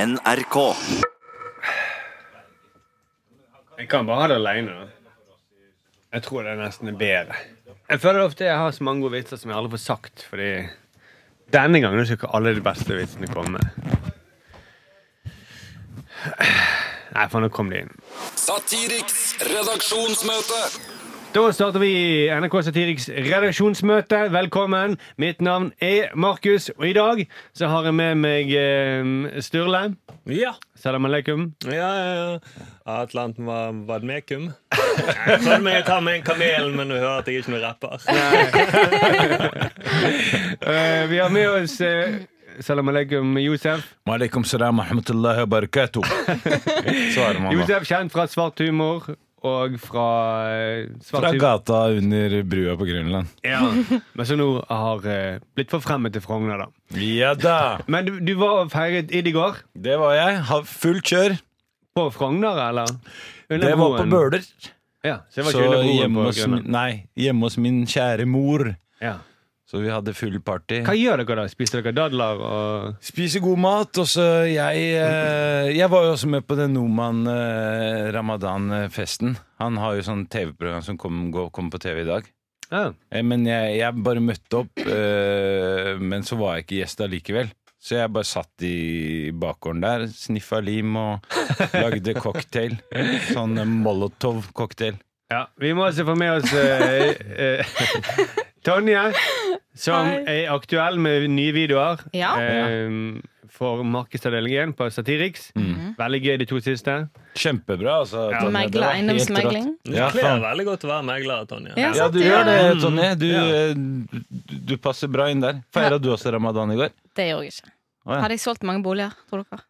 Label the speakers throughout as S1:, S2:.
S1: NRK.
S2: Jeg kan bare ha det aleine. Jeg tror det nesten er bedre. Jeg føler ofte jeg har så mange gode vitser som jeg aldri får sagt, fordi denne gangen er ikke alle de beste vitsene komme. Nei, faen, nå kom de inn.
S3: Satiriks redaksjonsmøte.
S2: Da starter vi NRK Satiriks redaksjonsmøte. Velkommen. Mitt navn er Markus, og i dag så har jeg med meg eh, Sturle.
S4: Ja.
S2: Salam aleikum.
S4: ja, ja, ja. Atlanten var vadmekum. Jeg trodde meg jeg tar med en kamel, men du hører at jeg er ikke noen rapper.
S2: Eh, vi har med oss eh, Salam aleikum, Josef.
S5: Malikum salam rahmatullahi wa barakatuh. Svarer man da.
S2: Josef kjent fra Svart humor og fra eh, Svart
S5: Fra
S2: humor.
S5: gata under brua på Grønland.
S2: Ja. Men som nå har eh, blitt forfremmet til Frogner, da.
S5: Ja da!
S2: Men du, du var og feiret id i går.
S5: Det var jeg. Ha fullt kjør.
S2: På Frogner, eller? Under
S5: Det var på
S2: broen.
S5: Bøler.
S2: Ja, så det var
S5: Så
S2: ikke under broen
S5: hjemme
S2: på
S5: hos,
S2: Grønland.
S5: min- nei, hjemme hos min kjære mor.
S2: Ja.
S5: Så vi hadde full party.
S2: Hva gjør dere da? Spiser dere dadler og
S5: Spise god mat. Og så jeg eh, Jeg var jo også med på den Noman eh, ramadan-festen. Han har jo sånn TV-program som kom- går- kommer på TV i dag.
S2: ja.
S5: Eh, Men jeg, jeg bare møtte opp, eh, men så var jeg ikke gjest allikevel. Så jeg bare satt i bakgården der, sniffa lim og lagde cocktail. Sånn molotov-cocktail.
S2: ja. Vi må også få med oss eh, eh, Tonje, som er aktuell med nye videoer
S6: Ja.
S2: eh, for markedsavdelingen på Satiriks.
S5: Mm.
S2: Veldig gøy, de to siste.
S5: Kjempebra, altså.
S2: Ja.
S5: Tonje.
S6: Megler,
S5: Det var helt
S6: eiendomsmegling.
S5: rått.
S4: Du
S5: Ja,
S4: kler
S5: faen.
S4: veldig godt å være megler, Tonje.
S6: Ja,
S5: ja,
S6: sant,
S5: du gjør det,
S6: ja.
S5: Tonje. Du,
S4: Ja.
S5: eh, du, du passer bra inn der. Feira du også ramadan i går?
S6: Det gjorde jeg ikke.
S5: Å, ja.
S6: Hadde jeg solgt mange boliger, tror dere?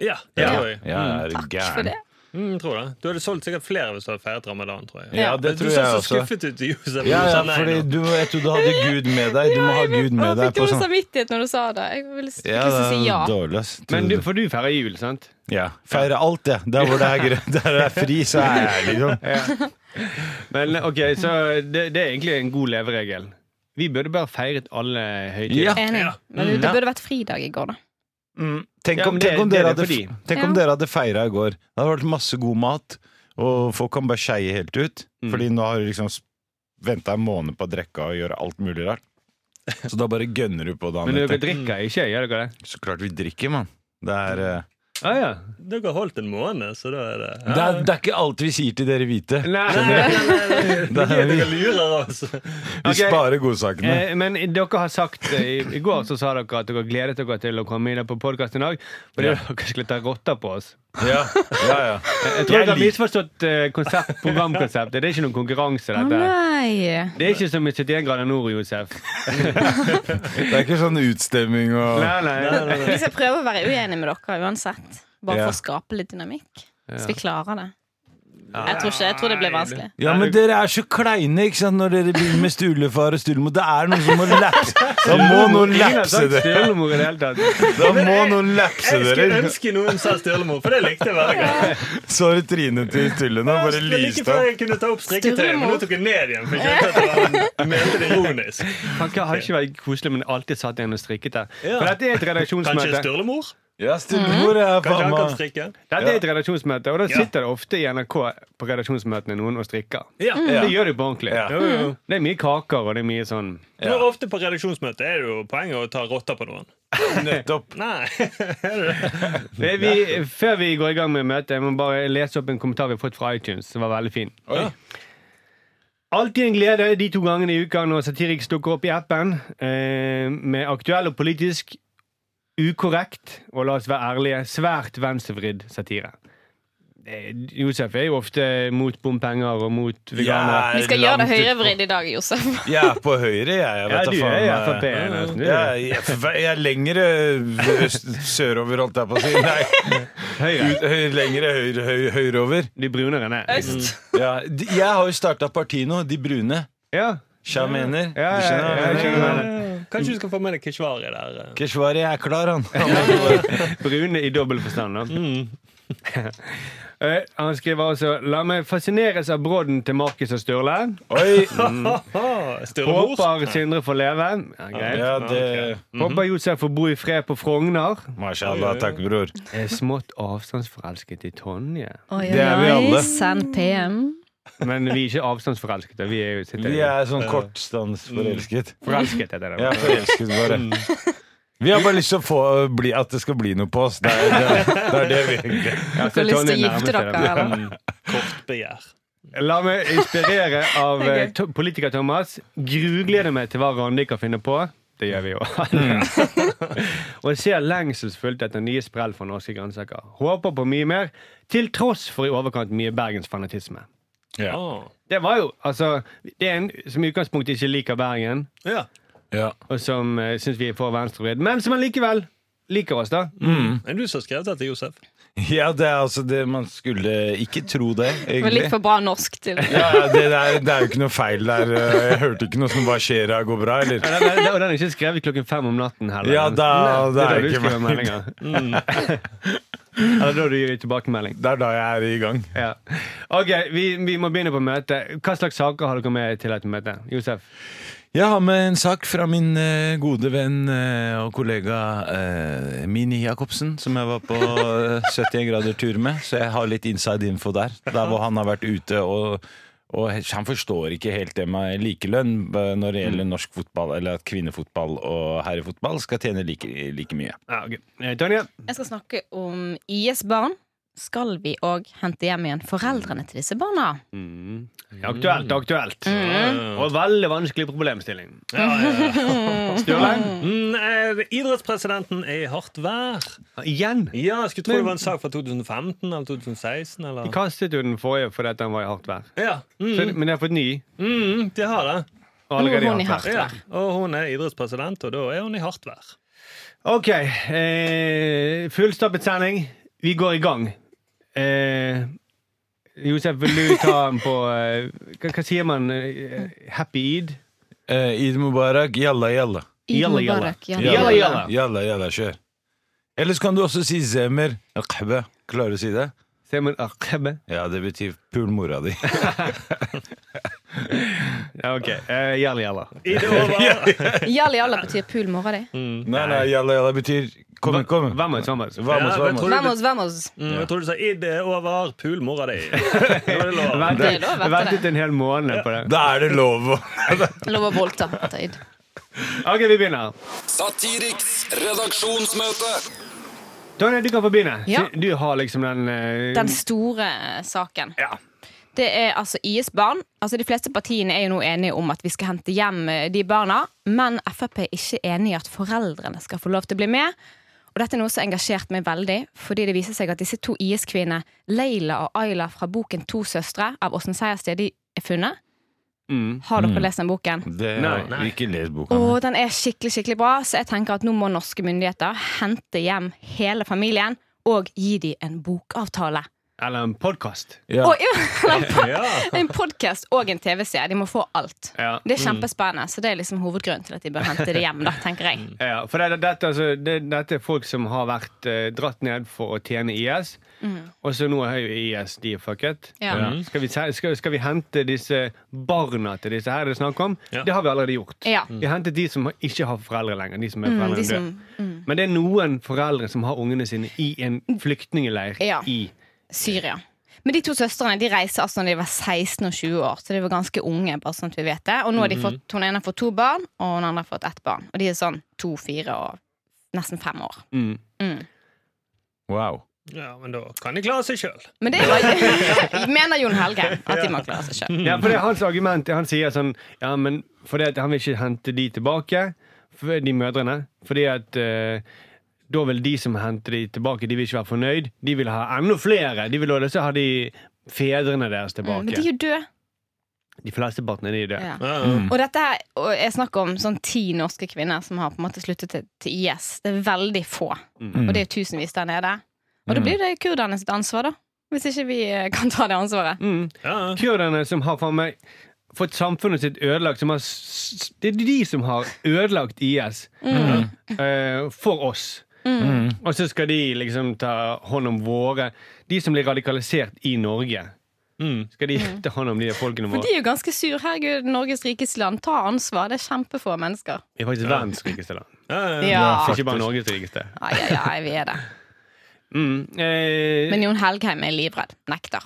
S4: Ja, det
S6: Ja.
S4: tror jeg.
S5: Ja, er du
S6: For
S5: gæren.
S6: det.
S4: Mm, tror det. Du hadde solgt sikkert flere hvis du hadde feiret ramadan, tror jeg.
S5: Ja, det
S4: Du
S5: tror
S4: så
S5: jeg
S4: så
S5: også.
S4: skuffet ut, Josef.
S5: Ja, ja,
S4: Du sa nei
S5: fordi
S4: nå.
S5: du, jeg trodde du hadde Gud med deg. Du må ha Gud med deg.
S6: fikk
S5: På
S6: dårlig
S5: sånn.
S6: samvittighet når du sa det. Jeg ville ikke
S5: Ja,
S6: lyst til å si
S5: det
S6: ja.
S5: er dårlig, ass.
S2: Men du, for du feirer jul, sant?
S5: Ja, feire alt, ja. Der hvor det er, grønt, der det er fri, så er jeg liksom
S2: sånn- Men ok, så det, det er egentlig en god leveregel. Vi burde bare feiret alle høytider.
S5: ja.
S6: Enig.
S4: Ja.
S6: Men det
S5: Ja.
S6: burde vært fridag i går, da.
S5: mm. Tenk
S2: Ja,
S5: om,
S2: men det-
S5: tenk om,
S2: det er
S5: dere,
S2: det
S5: hadde,
S2: for de.
S5: tenk om
S6: Ja.
S5: dere hadde feira i går. Det hadde vært masse god mat, og folk kan bare skeie helt ut.
S2: Mm.
S5: Fordi nå har du liksom venta en måned på å drikke og gjøre alt mulig rart. Så da bare gønner du på dagen
S2: Men dere
S5: etter.
S2: drikker ikke, gjør dere det?
S5: Så klart vi drikker, mann. Det er, eh,
S2: Ah, ja.
S4: Dere har holdt en måned, så da er det
S5: det, er, det er ikke alt vi sier til dere hvite.
S2: Nei.
S5: Det er, vi
S4: Dere lurer oss.
S5: vi
S2: Ok.
S5: sparer godsakene.
S2: Eh, men dere har sagt eh, i, I går så sa dere at dere gledet dere til å komme inn på podkast i dag. Fordi dere skulle ta rotta på oss.
S5: Ja, ja, ja.
S2: Jeg tror
S5: Jeg
S2: dere har
S5: lik-
S2: misforstått eh, konsept, programkonseptet. Det er ikke noen konkurranse,
S6: Å
S2: dette.
S6: nei!
S2: Det er ikke som i 71 grader nord, Josef.
S5: Det er ikke sånn utstemming og
S2: Nei, nei.
S6: Vi skal prøve å være uenige med dere uansett. Bare
S5: Ja.
S6: for å skape litt dynamikk. Så vi klarer det. Jeg tror ikke, jeg tror det blir vanskelig.
S5: Ja, men dere er så kleine ikke sant, når dere begynner med stulefar og stulemor. Det er noen som må lapse. Da må noen
S2: Ingen har
S5: lapse
S2: sagt
S5: dere.
S2: stølemor i det hele tatt.
S5: Da må noen lapse
S4: Jeg skulle
S5: dere.
S4: ønske noen sa Sturlemor, for det likte jeg veldig godt.
S5: Sorry, Trine til Tulle. Nå bare
S4: Det er Like
S5: lyste
S4: før
S5: opp.
S4: jeg kunne ta opp strikketøyet, men
S6: Sturlemor.
S4: nå tok jeg ned igjen. For jeg kjente at det var- mente det ironisk
S2: Han kan- har ikke vært koselig, men alltid satt igjen og strikket der.
S4: Ja.
S2: For dette er et
S4: Kanskje
S2: redaksjonsmøte.
S4: Sturlemor?
S5: Ja,
S2: Mhm.
S5: stulemor er
S4: Kanskje
S5: faen
S4: han kan
S5: meg
S4: strikke?
S2: Dette er et redaksjonsmøte, og da
S4: Ja.
S2: sitter det ofte i NRK på redaksjonsmøtene noen og strikker.
S4: Ja.
S2: Det gjør de på ordentlig.
S5: Ja.
S2: Det er mye kaker, og det er mye sånn
S4: Nå, ofte på redaksjonsmøte er det jo poenget å ta rotta på noen.
S5: nettopp.
S4: Nei, er det det?
S2: Det vi, Før vi går i gang med møtet, jeg må bare lese opp en kommentar vi har fått fra iTunes, som var veldig fin.
S5: Oi.
S2: Alltid en glede de to gangene i uka når Satiriks dukker opp i appen eh, med aktuell og politisk ukorrekt, og la oss være ærlige, svært venstrevridd satire. Eh, Josef er jo ofte mot bompenger og mot veganere.
S5: Jeg er
S6: Vi skal gjøre det
S5: langt ut på-
S6: høyrevridd i dag, Josef.
S5: Jeg er på høyre, jeg. jeg
S2: Ja,
S5: vet da
S2: du
S5: faen,
S2: er i
S5: jeg-
S2: Frp. nesten, du.
S5: Jeg, jeg, jeg er lengre øst- sørover, holdt jeg på å si. Nei,
S2: Høyre.
S5: ut- høy- lengre høyre, høy- høyreover.
S2: De brunere enn jeg.
S6: Øst.
S5: Ja, de- jeg har jo starta parti nå, De brune.
S2: Ja,
S5: Sja mener.
S2: ja, ja,
S5: Du skjønner
S2: ja,
S5: hva jeg
S2: jeg
S5: mener?
S2: skjønner hva du
S4: Kanskje du skal få med deg Keshvari der. eh.
S5: Keshvari er klar, han. Mm.
S2: Brune i dobbel forstand, da. Eh, han skriver altså La meg fascineres av brodden til Markus og Sturle.
S5: Oi!
S4: Mm.
S5: Mm,
S4: Sturrebos.
S2: Håper Sindre får leve. Ja, greit.
S5: Ja, Mhm. det
S2: Håper Josef får bo i fred på Frogner.
S5: Mashallah, takk, bror.
S2: Er smått avstandsforelsket i Tonje.
S6: Oi,
S5: Det er vi
S6: oi,
S5: alle.
S6: Send PM.
S2: Men vi er ikke avstandsforelskede. Vi er jo sitter-
S5: Vi er sånn kortstandsforelsket.
S2: forelsket. Heter det.
S5: Jeg er forelsket, bare. Vi har bare lyst til å få, bli, at det skal bli noe på oss. Det er det, det, er det vi egentlig
S2: Ja, så
S6: Får lyst til å
S2: Tonje nærmer seg
S6: gifte dere,
S2: det.
S6: eller?
S4: Kort begjær.
S2: La meg inspirere av
S6: Det er gøy.
S2: eh, to- politiker Thomas. Grugleder meg til hva Randi kan finne på. Det gjør vi jo.
S6: Mm.
S2: og jeg ser lengselsfullt etter nye sprell for norske grønnsaker. Håper på mye mer, til tross for i overkant mye bergensfanatisme.
S5: Ja.
S4: Ah.
S2: Det var jo, altså, det er en som i utgangspunktet ikke liker Bergen,
S4: Ja.
S5: Ja.
S2: og som uh, syns vi er for venstrevridd, men som allikevel liker oss, da.
S4: Er det du som har skrevet dette, Josef?
S5: ja, det er altså det man skulle ikke tro det,
S6: Det var
S5: egentlig.
S6: litt for bra norsk til
S5: Ja, ja, det, der, det er jo ikke noe feil der. eh. Jeg hørte ikke noe som bare skjer og går bra, eller?
S2: Og den- den er ikke skrevet klokken fem om natten heller.
S5: Ja, da-
S2: det er da
S5: det er
S2: du
S5: ikke Mm.
S2: skriver
S5: meg.
S2: meldinger. Eller da du gir tilbakemelding.
S5: Det er da jeg er i gang.
S2: Ja. Ok, vi, vi må begynne på møtet. Hva slags saker har dere med til dette møtet? Josef?
S5: Jeg har med en sak fra min eh, gode venn eh, og kollega eh, Mini Jacobsen, som jeg var på eh, 71 grader tur med, så jeg har litt inside info der. Der hvor han har vært ute og og he- han forstår ikke helt det med likelønn eh, når det gjelder norsk fotball, eller at kvinnefotball og herrefotball skal tjene like, like mye.
S2: Ja, ok. Eh, Tonje?
S6: Jeg skal snakke om IS-barn. Skal vi òg hente hjem igjen foreldrene til disse barna?
S2: Aktuelt, aktuelt.
S4: Mm.
S2: Og veldig vanskelig problemstilling.
S4: Ja, ja, ja.
S2: Sturle?
S4: Mm, eh, idrettspresidenten er i hardt vær.
S2: Igjen?
S4: Ja, jeg skulle tro det var en sak fra 2015 eller 2016.
S2: De
S4: Eller?
S2: kastet jo den forrige fordi at den var i hardt vær.
S4: Ja, mm,
S2: Så, men de har fått ny.
S4: mm, de har det.
S2: og
S6: Nå
S2: Allerede
S6: er hun
S2: i
S6: i
S2: hardt vær.
S4: Ja. Og hun er idrettspresident, og da er hun i hardt vær.
S2: Ok. Eh, fullstappet sending. Vi går i gang. Eh, Josef, vil du ta den på eh, hva, hva sier man? Eh, happy eid?
S5: Eh, Eid Mubarak, jalla jalla.
S2: Jalla, jalla.
S6: Mubarak,
S2: Jalla, jalla.
S5: Jalla, jalla, kjør. Ellers kan du også si zemer. Akbe. Klarer du å si det?
S2: Ser man arkebe?
S5: Ja, det betyr pul mora di.
S2: Ja, ok. Eh, jalla, jalla.
S4: I det over.
S6: Jalla, jalla betyr pul mora di.
S2: Mm.
S5: Nei, nei, jalla, jalla betyr kom, kom.
S2: Vamos, vamos.
S5: Vamos,
S4: Ja, men
S5: vamos.
S4: tror-
S6: Vamos, vamos.
S4: Mm, jeg trodde du sa 'i det er over, pul mora di'. Nå er det lov.
S2: Ventet,
S6: Det er lov, vet du
S2: ventet en hel måned på det.
S5: Da er det lov å
S6: Lov å voldta. Taid.
S2: Ok, vi begynner.
S3: Satiriks redaksjonsmøte.
S2: Tonje, du kan få begynne.
S6: Ja.
S2: Du har liksom den eh,
S6: Den store eh, saken.
S2: Ja.
S6: Det er altså IS-barn. Altså De fleste partiene er jo nå enige om at vi skal hente hjem eh, de barna, men Frp er ikke enig i at foreldrene skal få lov til å bli med. Og dette er noe som har engasjert meg veldig, fordi det viser seg at disse to IS-kvinnene, Leila og Ayla fra boken To søstre av Åsen Seiersted, de er funnet.
S2: Mm.
S6: Har dere lest den boken?
S5: det,
S2: Nei, nei.
S5: Ikke les boka.
S6: Og den er skikkelig, skikkelig bra, så jeg tenker at nå må norske myndigheter hente hjem hele familien og gi dem en bokavtale.
S2: Eller en podkast.
S5: Ja.
S6: Og, eller en pod-
S4: Ja.
S6: en podkast og en TV-serie. De må få alt.
S2: Ja. Mm.
S6: Det er kjempespennende, så det er liksom hovedgrunnen til at de bør hente det hjem. da, tenker jeg.
S2: Ja, for det, dette, altså, det, dette er folk som har vært eh, dratt ned for å tjene IS. Og så nå er jo IS de er fucket.
S6: Mm. Ja.
S2: Skal, vi, se- skal, skal vi hente disse barna til disse her det er snakk om?
S4: Ja.
S2: Det har vi allerede gjort.
S6: Ja.
S2: Vi har hentet de som ikke har foreldre lenger. De som er
S6: Mm,
S2: foreldre
S6: de som,
S2: Men det er noen foreldre som har ungene sine i en flyktningeleir
S6: Ja.
S2: i
S6: Syria. Men de to søstrene de reiser altså når de var 16 og 20 år, så de var ganske unge. bare sånn at vi vet det. Og nå
S2: Mhm.
S6: har de fått, hun ene har fått to barn, og hun andre har fått ett barn. Og de er sånn to, fire og nesten fem år.
S2: mm.
S5: Wow.
S4: Ja, men da kan de klare seg sjøl.
S6: Men det var, mener Jon Helge at de må klare seg sjøl.
S2: Ja, for det er hans argument. Han sier sånn Ja, men fordi at han vil ikke hente de tilbake, for- de mødrene. Fordi at eh, da vil de som henter de tilbake, de vil ikke være fornøyd. De vil ha enda flere. De vil også ha de fedrene deres
S6: Men de
S2: tilbake.
S6: er jo døde.
S2: De fleste partene de er døde.
S6: Ja.
S4: Ja.
S6: Og dette her, og jeg snakker om sånn ti norske kvinner som har på en måte sluttet til, til IS. Det er veldig få.
S2: Mm.
S6: Og det er jo tusenvis der nede. Og da blir det kurderne sitt ansvar, da. Hvis ikke vi eh, kan ta det ansvaret.
S2: Mm.
S4: Ja.
S2: Kurderne som har faen meg fått samfunnet sitt ødelagt som har,
S6: Mm.
S2: s- s- Det er de som har ødelagt IS eh, for oss. Og så skal de liksom ta hånd om våre De som blir radikalisert i Norge.
S4: Mm.
S2: Skal de ta hånd om de folkene
S6: For
S2: våre?
S6: de er jo ganske sur. Herregud, Norges rikeste land. Ta ansvar. Det er kjempefå mennesker.
S2: Vi er faktisk verdens rikeste land.
S4: Ja, ja, ja.
S6: Ja.
S2: Ikke bare Norges rikeste.
S6: Ja, ja, ja, vi er det.
S2: Mm. Eh,
S6: Men Jon Helgheim er livredd. Nekter.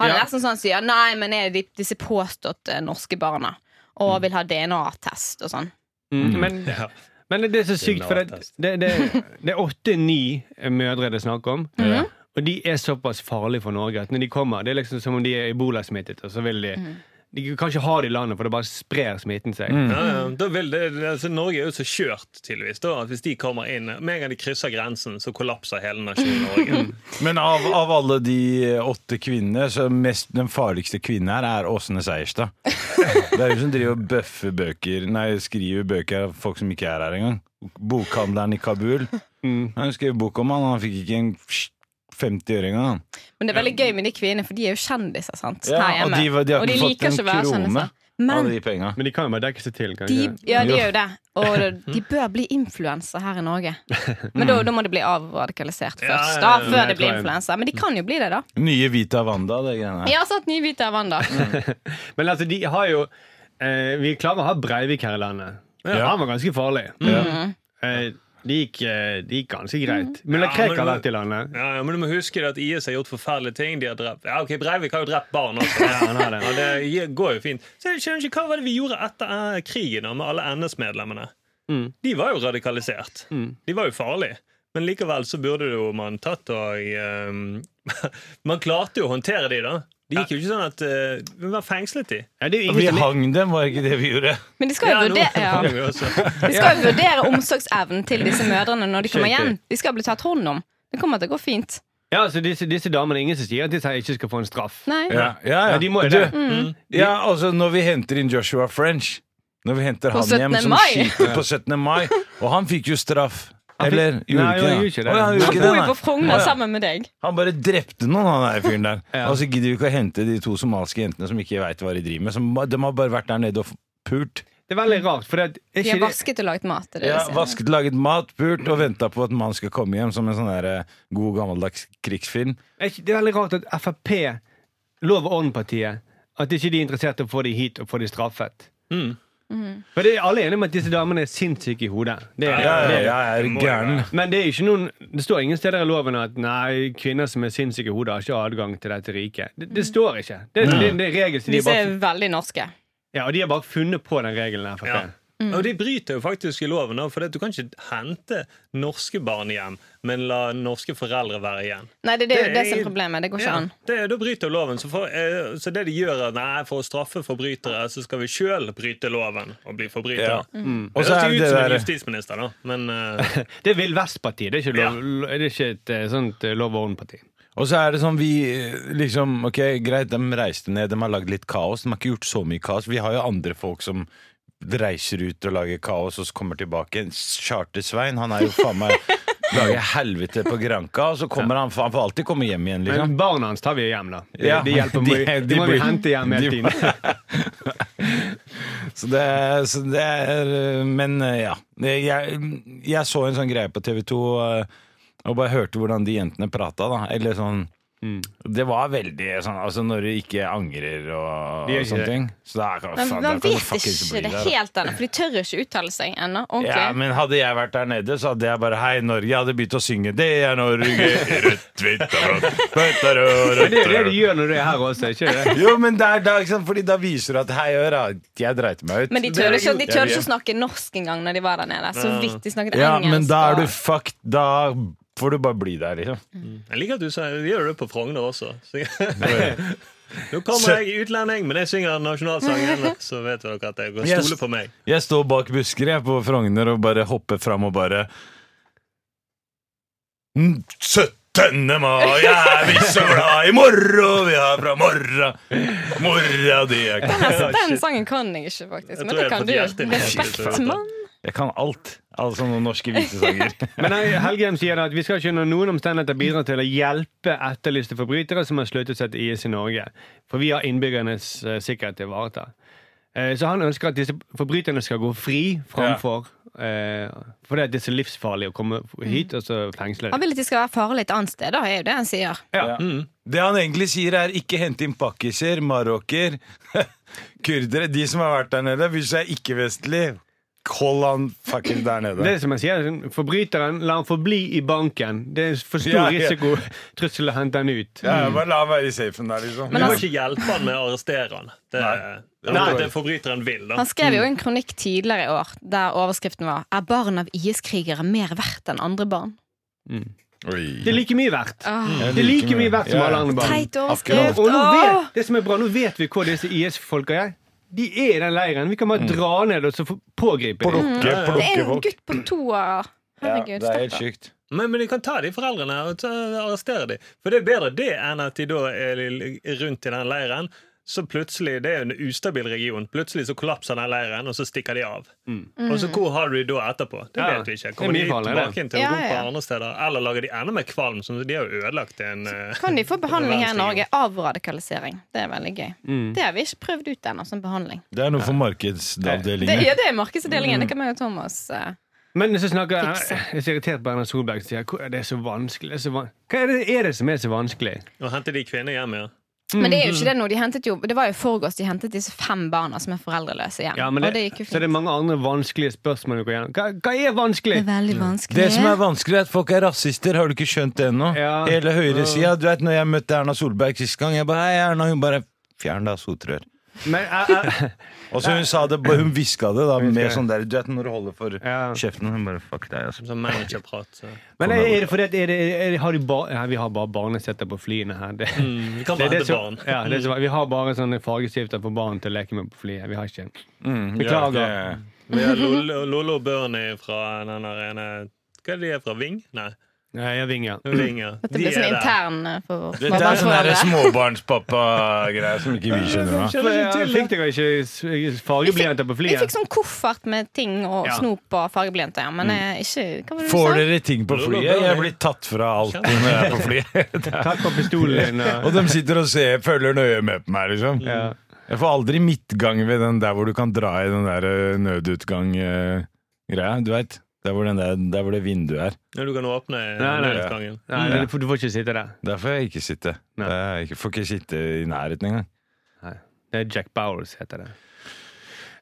S6: Han er
S2: Ja.
S6: nesten sånn som sier nei, men er det de- disse påstått eh, norske barna? Og vil ha DNA-test og sånn.
S2: mm, men,
S4: Ja.
S2: men det er så sykt, for det,
S4: lavtest.
S2: det, det, det er åtte-ni mødre det er snakk om.
S6: Mhm.
S5: Ja.
S2: Og de er såpass farlige for Norge at når de kommer, det er liksom som om de er ebolasmittet. Og så vil de
S6: Mhm.
S2: De kan ikke ha det i landet, for det bare sprer smitten seg.
S4: Ja, ja. Da vil det, altså, Norge er jo så kjørt, tydeligvis. Da, at hvis de kommer inn Med en gang de krysser grensen, så kollapser hele nasjonen Norge.
S5: Men av, av alle de åtte kvinnene, så mest, den farligste kvinnen her er Åsne Seierstad. Det er hun som driver og bøffer bøker Nei, skriver bøker av folk som ikke er her engang. Bokhandleren i Kabul. Han skrev bok om han, han fikk ikke en 50 øre engang. han.
S6: Men det er veldig gøy med de kvinnene, for de er jo kjendiser. sant?
S5: Ja,
S6: Her
S5: og
S6: hjemme.
S5: de var- de har ikke fått en krone Av
S6: Men
S5: de penga.
S2: Men de kan jo bare dekke seg til, kanskje.
S6: de, ja, de
S5: Jo.
S6: er jo det. Og de bør bli influensa her i Norge. Men da, da må de bli avradikalisert
S4: Ja,
S6: først,
S4: ja, ja,
S6: da,
S2: ja,
S6: før de
S2: jeg
S6: blir
S2: tror jeg-
S6: influensa. Men de kan jo bli det, da.
S5: Nye Vita Wanda, det greiene her.
S6: Jeg har satt ny hvit av Wanda.
S2: Men altså, de har jo eh, Vi klarer å ha Breivik her i landet.
S5: Ja.
S2: Han var ganske farlig.
S6: Mhm.
S2: Eh, det gikk, eh, det gikk ganske greit. Mulla
S4: Ja,
S2: Krekar
S4: men-
S2: har vært i landet.
S4: Ja, ja, men du må huske det at IS har gjort forferdelige ting. De har drept ja, ok, Breivik har jo drept barn også. Ja, han har det. Ja, det gi- går jo fint. Så jeg skjønner ikke Hva var det vi gjorde etter eh, krigen da, med alle NS-medlemmene? De var jo radikalisert. De var jo farlige. Men likevel så burde det jo man tatt og eh, Man klarte jo å håndtere de da. Det gikk jo ikke sånn at eh, Vi var fengslet de.
S2: Ja, det er jo
S5: Vi
S2: ingen som
S5: hang dem, var ikke det vi gjorde?
S6: Men de skal jo
S4: nå-
S6: vurdere ja.
S4: det var jo også-
S6: De skal jo vurdere omsorgsevnen til disse mødrene når de kommer
S2: Skjønte.
S6: hjem. De skal bli tatt hånd om. Det kommer til å gå fint.
S2: Ja, altså, disse, disse damene, ingen som sier at disse her ikke skal få en straff.
S6: Nei.
S5: Ja, ja, ja.
S2: Ja, de må jo
S5: Du,
S2: det.
S5: ja, altså når vi henter inn Joshua French Når vi henter
S6: På
S5: han hjem
S6: 17.
S5: som
S6: mai.
S5: skyter på 17. mai Og han fikk jo straff
S2: Han fikk-
S5: Eller gjorde
S2: Nei,
S5: ikke
S2: han
S5: det?
S2: gjorde ikke det.
S5: Å, ja, han,
S6: Han
S5: gjorde
S6: bor
S5: ikke
S6: jo på
S5: det, nei.
S6: Frogner sammen med deg.
S5: han bare drepte noen, han der fyren der.
S2: Ja.
S5: Og så gidder vi ikke å hente de to somaliske jentene som ikke veit hva de driver med. Som, de har bare vært der nede og f- pult.
S2: Det er veldig rart, for det er- er
S6: De
S2: ikke
S6: har
S2: det
S6: vasket og lagt mat. til
S5: Ja,
S6: dere, sier han.
S5: vasket, laget mat, pult og venta på at mannen skal komme hjem som en sånn der, eh, god, gammeldags krigsfilm.
S2: Er ikke- Det er veldig rart at Frp, Lov og Orden-partiet, at ikke de er interessert i å få de hit og få de straffet.
S4: Mm.
S2: For det er alle enige om at disse damene er sinnssyke i hodet. Det er,
S5: Ja, ja,
S2: det er,
S5: ja, jeg er
S4: må jo
S5: gæren.
S2: Men det er jo ikke noen Det står ingen steder i loven at nei, kvinner som er sinnssyke i hodet, har ikke adgang til dette riket. Det, det står ikke. Det, det, det, er regel som de,
S6: Disse
S2: bare,
S6: er veldig norske.
S2: ja, og de har bare funnet på den regelen. Frp.
S4: Ja. Og de bryter jo faktisk i loven, da, for det at du kan ikke hente norske barn hjem, men la norske foreldre være igjen.
S6: Nei, det, er det,
S4: Det er-
S6: det som er problemet. Det går ikke
S4: Ja,
S6: an.
S4: det, da bryter jo loven. Så, for, eh, så det de gjør, er nei, for å straffe forbrytere, så skal vi sjøl bryte loven og bli forbrytere. Mm.
S5: Ja. Mm.
S4: Det
S5: Og så er
S4: høres
S5: det
S4: ut som en
S5: der
S4: justisminister, da, men eh,
S2: Det er Vill Vest-partiet. Det er ikke, lov, det er ikke et eh, sånt eh, Lov og Orden-parti.
S5: Og så er det sånn, vi eh, liksom Ok, greit, de reiste ned, de har lagd litt kaos. De har ikke gjort så mye kaos. Vi har jo andre folk som reiser ut og lager kaos, og så kommer tilbake. Charter-Svein, han er jo faen meg Lager helvete på Granka, og så kommer han Han får alltid komme hjem igjen, liksom.
S2: Men barna hans tar vi hjem, da. De,
S5: Ja,
S2: de hjelper
S5: de-
S2: de, de,
S5: de
S2: må vi
S5: blir-
S2: hente hjem hele
S5: de-
S2: tiden.
S5: Så det, er- så det er eh, Men eh, ja. Det- Jeg, jeg så en sånn greie på TV 2 og bare hørte hvordan de jentene prata, da. Eller sånn Det var veldig sånn altså når du ikke angrer og,
S2: De gjør
S5: og
S2: ikke
S5: sånne
S2: det.
S5: ting. Så da kan, faen,
S6: Men man
S5: da kan du
S6: vet
S5: fuckings
S6: ikke
S5: bli
S6: det
S5: der, da.
S6: helt ennå, for de tør ikke uttale seg ennå.
S5: Ja,
S6: Ordentlig.
S5: men hadde jeg vært der nede, så hadde jeg bare Hei, Norge. Jeg hadde begynt å synge Det er Norge, rødt, hvitt og blått. bøtter og
S2: Men det er jo det
S5: røtter
S2: de
S5: og-
S2: gjør når du er her også, ikke det?
S5: Jo, men det er da, ikke sant? Fordi da viser du at Hei, hør, da, jeg dreit meg ut.
S6: Men de tør ikke, de
S5: Jeg
S6: tør
S5: vet.
S6: ikke å snakke norsk engang når de var der nede. Så
S4: Ja.
S6: vidt de snakket
S5: Ja,
S6: engelsk.
S5: men da er
S6: og-
S5: du fucked. Da får du bare bli der, liksom.
S4: jeg liker at du sa vi gjør det på Frogner også. Så, nå kommer jeg utlending, men jeg synger nasjonalsangen, så vet dere at jeg kan
S5: Yes.
S4: stole på meg.
S5: Jeg står bak busker jeg på Frogner og bare hopper fram og bare "Mm, 17. mai, er vi så glad i morgen, vi har fra morgen Morgen, det er
S6: Den,
S5: ikke
S6: altså, den sangen kan jeg ikke, faktisk.
S4: Jeg
S6: Men
S4: tror
S6: det
S4: jeg
S6: kan
S4: har
S6: du.
S4: fått hjertet mitt.
S6: Respektmann.
S5: Jeg kan alt. Alle sånne norske visesanger.
S2: Men nei, Helgheim sier da at vi skal ikke under noen omstendigheter bidra til å hjelpe etterlyste forbrytere som har sluttet seg til IS i Norge, for vi har innbyggernes eh, sikkerhet til å ivareta. Eh, Så han ønsker at disse forbryterne skal gå fri framfor Eh, for det, det er så livsfarlig å komme
S5: Mm.
S2: hit og så fengsle
S6: Han
S2: deg.
S6: vil at de skal være farlige et annet sted, da, er jo det han sier.
S5: Ja. Mm. Det han egentlig sier, er ikke hente inn pakkiser, marokker, kurdere De som har vært der nede, hvis jeg er ikke-vestlig, hold han fuckings der
S2: Det
S5: nede.
S2: er som jeg sier, sånn, Forbryteren, la han forbli i banken. Det er for stor
S5: Ja, ja.
S2: risikotrussel å hente han ut.
S5: Ja, bare la han være i safen der, liksom.
S4: Du
S6: Men
S4: må
S6: altså-
S4: ikke hjelpe han med å arrestere han. Det,
S5: Nei.
S4: det,
S5: Nei.
S4: er det forbryteren vil. da
S6: Han skrev jo en kronikk tidligere i år der overskriften var 'Er barn av IS-krigere mer verdt enn andre barn?'
S2: Det er like mye verdt. Det er like mye verdt som
S5: Ah. Ja, ja.
S2: alle andre barn.
S6: Teit
S5: Mm. Akkurat.
S6: overskrift.
S2: Og nå
S6: Åh!
S2: vet, det som er bra, nå vet vi hvor disse IS-folka er. De er i den leiren. Vi kan bare dra ned og så få- pågripe dem. Mm.
S5: Plukke,
S6: Det er
S5: plukke
S6: en
S5: folk.
S6: gutt på to år.
S5: Ja,
S6: Herregud,
S5: det er helt
S6: stakkar.
S5: sjukt.
S4: Men, men de kan ta de foreldrene her og ta, arrestere de. For det er bedre det enn at de da er li- rundt i den leiren. Så plutselig, Det er jo en ustabil region. Plutselig så kollapser den leiren, og så stikker de av. Og så Hvor har du de da etterpå? Det
S2: Mm. Ja,
S4: vet vi ikke.
S2: det er
S4: Kommer
S2: mye
S4: de
S2: farligere, det.
S4: tilbake inn til
S6: Ja,
S4: Europa
S6: ja.
S4: andre steder? Eller lager de enda mer kvalm? Som de har jo ødelagt en eh,
S6: Kan de få behandling her i
S4: verdensregion.
S6: Norge? Avradikalisering. Det er veldig gøy. Det har vi ikke prøvd ut ennå som behandling.
S5: Det er noe for
S6: Det,
S5: markedsavdelingen.
S6: ja, det er markedsdelingen. Det kan meg og Thomas eh,
S2: Men så snakker jeg,
S6: Fikse.
S2: jeg er så irritert på Erna Solberg som sier "Hvor er det er så vanskelig. Det er så van Hva er det, er det som er så vanskelig?
S4: Å hente de kvinner hjem, ja.
S6: Men det er jo ikke det nå. De hentet jo, det var jo i forgårs de hentet disse fem barna som er foreldreløse hjem.
S2: Ja, men
S6: og det
S2: det,
S6: gikk jo
S2: så
S6: fint.
S2: det er mange andre vanskelige spørsmål du går gjennom. Hva, hva er vanskelig?
S6: veldig vanskelig.
S5: Det som er vanskelig, er at folk er rasister. Har du ikke skjønt det ennå?
S2: Ja.
S5: Hele høyresida. Du vet når jeg møtte Erna Solberg sist gang, jeg bare Hei, Erna. Hun bare Fjern da sotrør.
S2: Men, eh, jeg- jeg-
S5: Og så hun sa det, bare- hun hviska det da med
S2: Hviska.
S5: sånn der Du vet når du holder for
S2: Ja.
S5: kjeften, hun bare Fuck deg, altså.
S4: Som managerprat. så.
S2: men er det fordi at er det, er det, har de ba, ja, Vi har bare barnesetter på flyene her. Det,
S4: Mm, Vi kan
S2: det er
S4: bare
S2: det
S4: hente
S2: som,
S4: barn.
S2: ja, det er så, vi har bare sånne fargestifter for barn til å leke med på flyet. Vi har ikke
S5: Ja,
S2: Beklager.
S5: det-
S4: Vi har Lollo- Lollo og Bernie fra den der ene Hva er det de er fra? Ving? Nei.
S2: Nei, jeg vinger.
S4: Ving, ja.
S6: Dette
S4: De
S6: blir
S4: er
S6: sånn
S4: der.
S6: intern eh, for
S5: Dette er sånn der
S6: småbarnsforeldre.
S5: småbarnspappa-greier som ikke vi skjønner. da.
S2: Hvorfor jeg- Fikk dere ikke s- fargeblyanter på
S6: Vi fikk
S2: flyet?
S6: sånn koffert med ting og
S2: Ja.
S6: snop og fargeblyanter, ja. Men eh, ikke Hva var det du
S5: Får
S6: sa?
S5: dere ting på flyet? Jeg blir tatt fra alt når jeg er på flyet.
S6: sånn-
S2: Takk for pistolen din. og-
S5: Og de sitter og ser, følger nøye med på meg, liksom.
S2: Ja.
S5: Jeg får aldri midtgang ved den der hvor du kan dra i den der eh, nødutgang-greia. Du veit? Der, hvor den der- der hvor det vinduet er.
S4: Ja, du kan åpne eh,
S2: Nei, nei,
S4: nødutgangen.
S2: Nei, men du får- du får ikke sitte der.
S5: Der får jeg ikke sitte.
S2: Nei.
S5: Det er ikke, får ikke sitte i nærheten engang.
S2: Det er Jack Bowles heter det.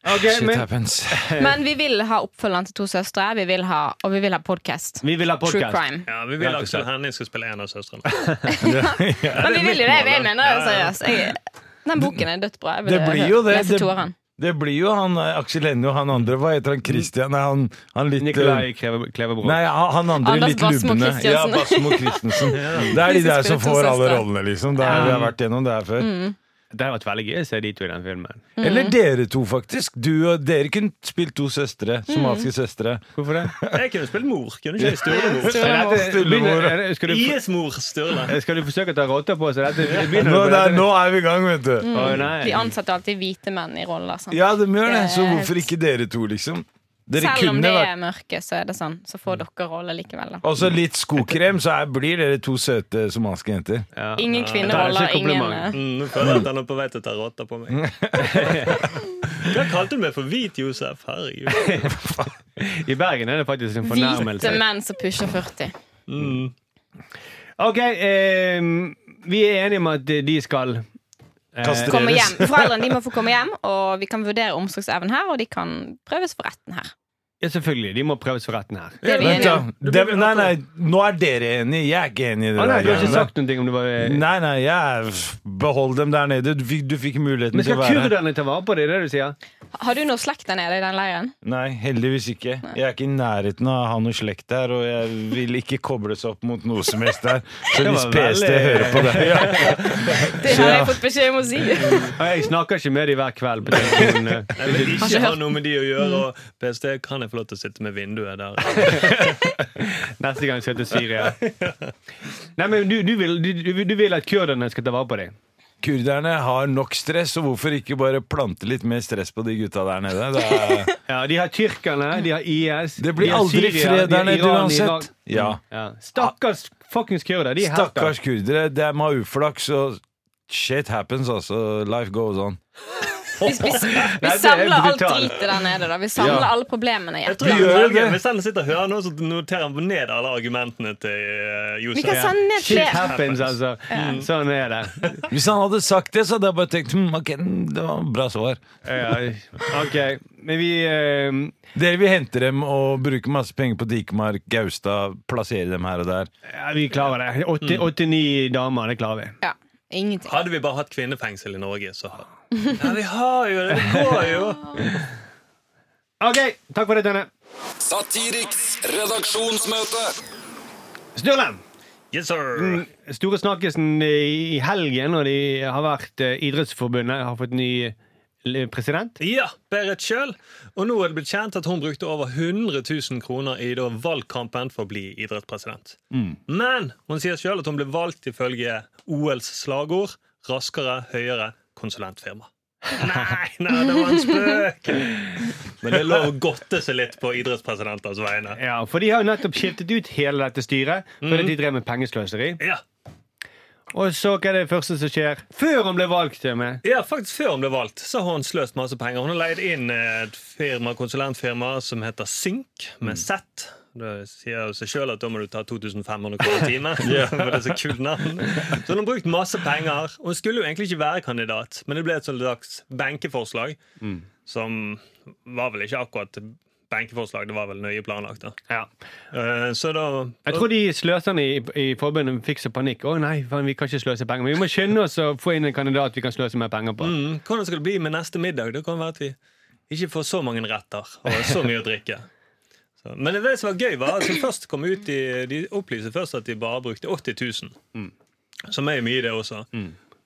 S2: Ok,
S5: Shit
S2: men
S5: happens.
S6: Men vi vil ha oppfølgeren til To søstre, vi vil ha, og vi vil ha podkast.
S2: vi vil ha
S6: True
S2: podkast.
S6: crime.
S4: Ja, Vi vil Aksel Hennie skal spille en av søstrene.
S6: Men vi vil jo det. Jeg
S4: mål, da?
S6: mener det
S4: Ja, ja.
S6: seriøst. Jeg, den boken er dødsbra. Jeg vil
S5: Det blir jo det.
S6: lese
S5: Det-
S6: toeren.
S5: Det blir jo han eh, Aksel Hennie og han andre. Hva heter han? Christian? Nei, han, han litt eh,
S2: Nikolai Kleve- Klevebrok.
S5: Nei, han han andre
S6: Anders
S5: litt
S6: Bassmo
S5: lubne.
S6: Christiansen.
S5: Ja, Basmo Christensen. Det er
S6: De
S5: de
S6: som
S5: der som
S6: spiller to
S5: får alle
S6: søstre.
S5: rollene, liksom. Det er, vi har vært gjennom det her før.
S2: Det hadde vært veldig gøy å se de to i den filmen.
S6: Mm.
S5: Eller dere to, faktisk. Du og Dere kunne spilt to
S6: Mm.
S5: søstre. Somaliske søstre.
S2: Hvorfor det?
S4: Jeg kunne spilt mor. Kunne ikke jeg Sturlemor?
S2: Er dette-
S5: Sturlemor.
S2: begynner- er det- Skal du,
S4: IS-mor Sturle.
S2: skal du forsøke å ta rotta på så dette? det Begynner
S5: Nå,
S2: på
S5: det er,
S2: dette?
S5: nå er vi i gang, vet du.
S2: Å,
S6: De
S2: nei.
S6: ansetter alltid hvite menn i roller. Sant?
S5: Ja, de gjør det. Så
S6: Det er
S5: hvorfor ikke dere to, liksom? Dere
S6: Selv om
S5: kunne
S6: det
S5: vært
S6: er mørke, så er det sånn. Så får dere roller likevel. Da.
S5: Og så litt skokrem, så er, blir dere to søte somaliske jenter.
S2: Ja.
S6: Ingen
S2: Det er
S6: kvinneroller.
S2: ikke et
S6: Ingen
S2: kompliment.
S6: eh,
S4: Mm, Nå føler jeg at han er på vei til å ta rotta på meg. Hva kalte du meg for hvit Josef? Herregud.
S2: I Bergen er det faktisk en Mm.
S6: hvite
S2: fornærmelse.
S6: menn som pusher 40.
S4: Mm.
S2: Ok, eh, vi er enige om at de skal eh,
S5: Kaste-
S6: Komme
S5: Deres.
S6: hjem. Foreldrene de må få komme hjem, og vi kan vurdere omsorgsevnen her, og de kan prøves for retten her.
S2: Ja, selvfølgelig. De må prøves for retten her.
S6: Det er vi
S5: Vent,
S6: enige
S5: da.
S6: om.
S5: Det, nei, nei, nå er dere enige. Jeg er ikke enig i det.
S2: Å nei,
S5: der
S2: du har ikke
S5: greiene.
S2: sagt noe om det var eh,
S5: Nei, nei, jeg behold dem der nede. Du fikk, du fikk muligheten
S2: Men
S5: til
S2: skal
S5: å være her.
S2: kurderne ta vare på det, er det du sier?
S6: Har du noe slekt der nede i den leiren?
S5: Nei, heldigvis ikke. Jeg er ikke i nærheten av å ha noe slekt der, og jeg vil ikke kobles opp mot noe som helst der. Så
S2: Det
S5: hvis
S2: var
S5: PST
S2: veldig-
S5: hører på det ja.
S6: Det har jeg fått beskjed om å si.
S2: Og Jeg snakker ikke med dem hver kveld. På telefonen, eh.
S4: Jeg vil ikke ha noe med de å gjøre. Og PST, kan jeg få lov til å sitte med vinduet der?
S2: Neste gang skal jeg til Syria. Nei, men du, du, vil, du, du- du vil at kurderne skal ta vare på deg?
S5: Kurderne har nok stress, og hvorfor ikke bare plante litt mer stress på de gutta der nede? Det, er,
S2: Ja, De har tyrkerne, de har IS
S5: det
S2: de
S5: blir
S2: har
S5: aldri
S2: Syria,
S5: fred
S2: de har
S5: der nede
S2: Iran, Irak.
S5: uansett. Ja.
S2: Ja. Stakkars fuckings kurder. De er helter.
S5: Stakkars kurdere, de har uflaks, og shit happens, altså. Life goes on.
S6: Vi,
S2: Nei,
S6: vi, vi
S2: det er
S6: samler alt
S2: brutalt.
S6: dritet der nede. da Vi samler
S5: Ja.
S6: alle problemene. Ja.
S4: Jeg tror han
S5: gjør
S4: velger-
S5: det.
S4: Hvis han sitter og hører noe, så noterer han ned alle argumentene til eh,
S6: Vi kan sånn-
S4: Josef.
S6: sende ned
S2: Shit
S6: flere.
S2: happens, altså. Sånn er det.
S5: Hvis han hadde sagt det, så hadde jeg bare tenkt hm, ok, det var bra svar.
S2: Ja, OK. Men vi eh,
S5: Dere vil hente dem og bruke masse penger på Dikemark, Gaustad, plassere dem her og der.
S2: Ja, vi klarer det. Åtte- Åtte-ni damer, det klarer vi.
S6: Ja, ingenting.
S4: Hadde vi bare hatt kvinnefengsel i Norge, så hadde Ja, vi har jo det! Det går jo!
S2: OK, takk for det, Tønne.
S3: Satiriks redaksjonsmøte.
S2: Sturle!
S4: Yes,
S2: Mm.
S4: sir!
S2: Store snakkisen i i helgen, og de har vært eh, Idrettsforbundet, har fått ny eh, president.
S4: Ja, Berit Kjøl. Og nå er det blitt kjent at hun brukte over 100 000 kroner i da valgkampen for å bli idrettspresident. Men hun sier sjøl at hun ble valgt ifølge OLs slagord 'raskere, høyere, konsulentfirma'. Nei, nei, det var en spøk! Men det er lov å godte seg litt på idrettspresidenters vegne.
S2: Ja, For de har jo nettopp skiftet ut hele dette styret fordi de drev med pengesløseri.
S4: Ja,
S2: Og så hva er det første som skjer? Før hun ble valgt, til og med.
S4: Ja, faktisk Før hun ble valgt, så har hun sløst masse penger. Hun har leid inn et firma, konsulentfirma som heter Synk, med Z. Det sier jo seg sjøl at da må du ta 2500 kroner timen. for det er Så kult navn. Så hun har brukt masse penger. Hun skulle jo egentlig ikke være kandidat, men det ble et slags benkeforslag. Som var vel ikke akkurat benkeforslag, det var vel nøye planlagt. da.
S2: Ja.
S4: Eh, Så da
S2: Jeg tror de sløserne i, i forbundet fikk så panikk. Å nei, faen, vi kan ikke sløse penger. Men vi må skynde oss å få inn en kandidat vi kan sløse mer penger på.
S4: Mm, hvordan skal det bli med neste middag? Det kan være at vi ikke får så mange retter og så mye å drikke. Så, men det som var gøy, var at de først kom ut i, De opplyser først at de bare brukte 80 000. Som er jo mye, det også.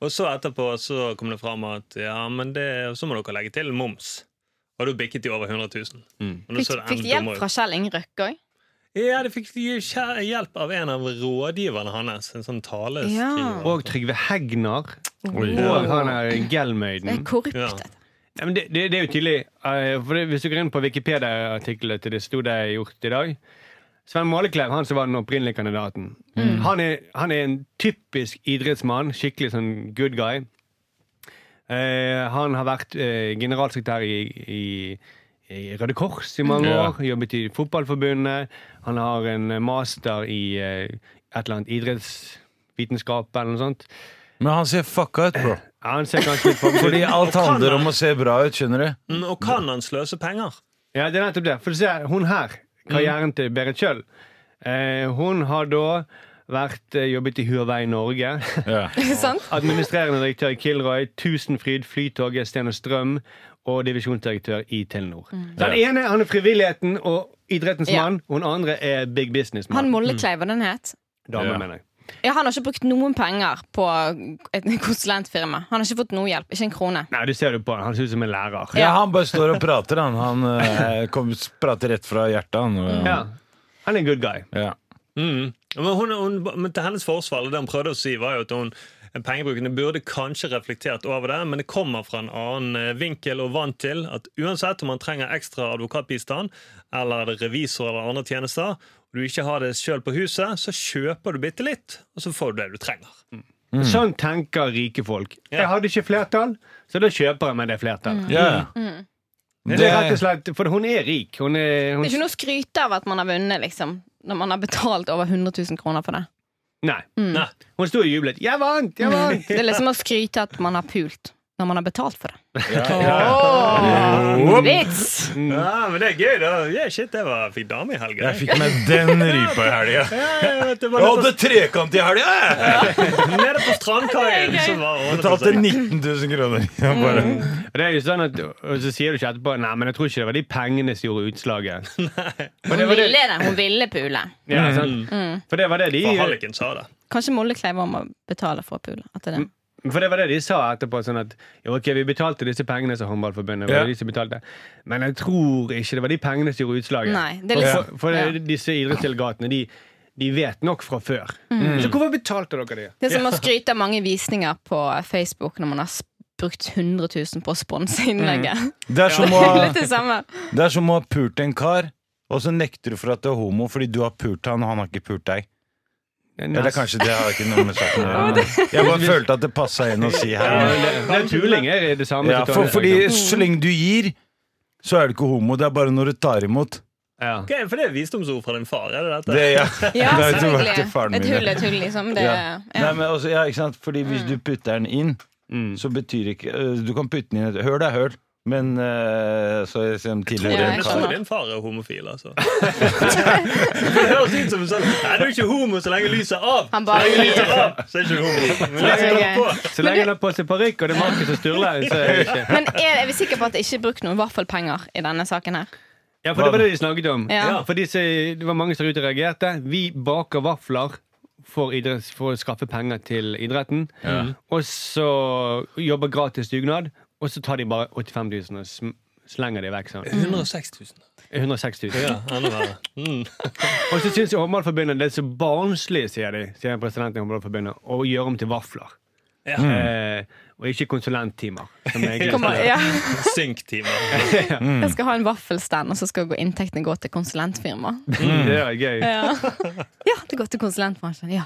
S4: Og så etterpå så kom det fram at ja, men det, så må dere legge til moms. Og da bikket de over 100 000. Og da
S6: Fikk,
S4: så det enda
S6: fikk de hjelp
S4: dummere ut.
S6: fra Kjell Inge Røkke òg?
S4: Ja, de fikk kjæ- hjelp av en av rådgiverne hans. En sånn taleskriver.
S2: Og Trygve Hegnar.
S5: Oi.
S2: Og han er
S6: Det er
S2: Gelmøyden.
S6: korrupt.
S4: Ja.
S6: dette.
S2: Ja, men det, det, det er jo tydelig. eh, For det, hvis du går inn på Wikipedia-artikkelen til det sto det gjort i dag Sven Måleklev, han som var den opprinnelige kandidaten,
S5: Mm.
S2: han, er, han er en typisk idrettsmann. Skikkelig sånn good guy. Eh, han har vært eh, generalsekretær i, i, i Røde Kors i mange
S5: Ja.
S2: år. Jobbet i Fotballforbundet. Han har en master i eh, et eller annet idrettsvitenskap eller noe sånt.
S5: Men han ser fucka ut, bro.
S2: Ja, han ser ganske litt på
S5: Fordi alt
S4: kan
S5: handler
S4: han.
S5: om å se bra ut, skjønner du.
S4: Mm, og kan han sløse penger?
S2: Ja, det er nettopp det. For se, hun her,
S5: Mm.
S2: karrieren til Berit Kjøll, eh, hun har da vært eh, jobbet i Huawei Norge.
S5: Ja.
S6: Sant?
S2: Administrerende direktør i Kilroy, Tusenfryd, Flytoget, Sten og Strøm og divisjonsdirektør i Telenor. Så den
S5: Ja.
S2: ene han er frivilligheten og idrettens
S6: Mm. Ja.
S2: mann. Hun andre er big
S6: Han
S2: business-mann.
S6: Mollekleiva, den het.
S2: Dame,
S5: Ja.
S2: mener jeg.
S6: Ja, han har ikke brukt noen penger på et konsulentfirma. Han har ikke fått noe hjelp. Ikke en krone.
S2: Nei, du ser det på han. Han ser ut som en lærer.
S5: Ja, han bare står og prater, han. Han eh, kom, prater rett fra hjertet, han. og-
S2: Ja. Han er en good guy.
S5: Ja.
S4: Mm. Men, hun, hun, men til hennes forsvar, det hun prøvde å si, var jo at hun pengebrukende burde kanskje reflektert over det, men det kommer fra en annen eh, vinkel og vant til at uansett om man trenger ekstra advokatbistand eller er det revisor eller andre tjenester, og du ikke har det sjøl på huset, så kjøper du bitte litt, og så får du det du trenger.
S6: Mm.
S5: Mm.
S2: Sånn tenker rike folk. Jeg hadde ikke flertall, så da kjøper jeg meg det
S6: Mm.
S2: flertallet.
S5: Ja.
S2: Det, er rett og slett, For hun er rik. Hun er, hun
S6: Det er ikke noe å skryte av at man har vunnet, liksom. Når man har betalt over 100 000 kroner for det.
S2: Nei.
S4: Nei.
S2: Hun sto og jublet. 'Jeg vant! Jeg vant!'
S6: Mm. Det er liksom å skryte at man har pult når man har betalt for det.
S5: Whoop.
S6: Vits!
S4: Ja, men det er gøy, da. Yeah, shit, det var, jeg fikk dame i helga.
S5: Jeg fikk meg den rypa i helga.
S4: Ja, jeg vet, det var
S5: Jeg
S4: nede
S5: hadde trekant i helga! jeg.
S4: på, nede på strandkaien.
S6: Det er gøy.
S4: så var hun-
S5: Betalte 19 000 kroner. Jeg bare,
S2: Og det er jo sånn at, og så sier du ikke etterpå 'Nei, men jeg tror ikke det var de pengene som gjorde utslaget'. For det var
S6: Hun
S2: det,
S6: ville Mm. det. Hun ville pule.
S2: ja, sant? Mm. For det var det de
S4: Og Halliken sa det.
S6: Kanskje Mollekleiva må betale for å pule. At det er det.
S2: For det var det de sa etterpå. Sånn at jo, ok, vi betalte disse pengene som Håndballforbundet var
S5: Ja.
S2: det de som betalte. Men jeg tror ikke det var de pengene som gjorde utslaget.
S6: Nei, det er
S2: For- For,
S6: liksom-
S2: for
S6: Ja.
S2: disse idrettsdelegatene, de, de vet nok fra før.
S6: Mm.
S2: Så hvorfor betalte dere det?
S6: Det er som å skryte av mange visninger på Facebook når man har s- brukt 100 000 på å sponse innlegget.
S5: det er som å
S6: Det er litt det samme.
S5: Det er som å ha pult en kar, og så nekter du for at du er homo fordi du har pult han, og han har ikke pult deg. Eller kanskje det har ikke noe med saken å gjøre. Jeg bare følte at det passa inn å si her.
S2: Nei, Tuling er det samme.
S5: Ja,
S2: som
S5: for,
S2: Tony
S5: fordi
S2: snakker
S5: så lenge du gir, så er du ikke homo. Det er bare når du tar imot.
S2: om.
S4: Ok, for det er visdomsord fra din far, er det dette?
S5: Det, ja.
S6: Ja,
S5: Det er jo
S6: selvfølgelig.
S5: tilbake til faren
S6: Et
S5: min, ja.
S6: hull er et hull, liksom. Det,
S5: Ja.
S6: ja.
S5: Nei, men også, ja, ikke sant? Fordi hvis du putter den inn,
S2: Mm.
S5: så betyr ikke øh, Du kan putte den inn et høl, er høl, men øh, så som
S6: Ja,
S5: tidligere
S6: jeg
S4: Jeg
S5: kar.
S4: tror
S6: skjønner.
S4: din far er homofil, altså. Det høres ut som en sånn Nei, du er ikke homo så lenge lyset er av.
S6: Han bare
S4: Så lenge lyset er av, så er ikke du homo. Men la oss
S6: Ok.
S4: ta på.
S2: Så lenge han har på seg parykk og det er Markus som sturler, så er det ikke
S6: Men er, er vi sikre på at det ikke er brukt noen vaffelpenger i denne saken her?
S2: Ja, for det var det de snakket om.
S6: Ja.
S2: Ja. For de som- det var mange som reagerte. Vi baker vafler for, idretts, for å skaffe penger til idretten. Og så jobber gratis dugnad, og så tar de bare 85 000 og sm- slenger de vekk sånn.
S4: 106 000.
S2: 106 000.
S4: Ja, enda verre. Mm.
S2: Og så syns Håndballforbundet det er så barnslig, sier de, sier presidenten i Håndballforbundet, å gjøre om til vafler.
S4: Ja.
S5: Mm.
S2: Eh, og ikke konsulenttimer. Som er
S6: Kommer- Ja.
S4: Synktimer.
S5: Mm.
S6: Jeg skal ha en vaffelstand, og så skal gå inntektene gå til konsulentfirma.
S5: Mm.
S2: Det er gøy.
S6: Ja. ja, det går til konsulentbransjen. Ja.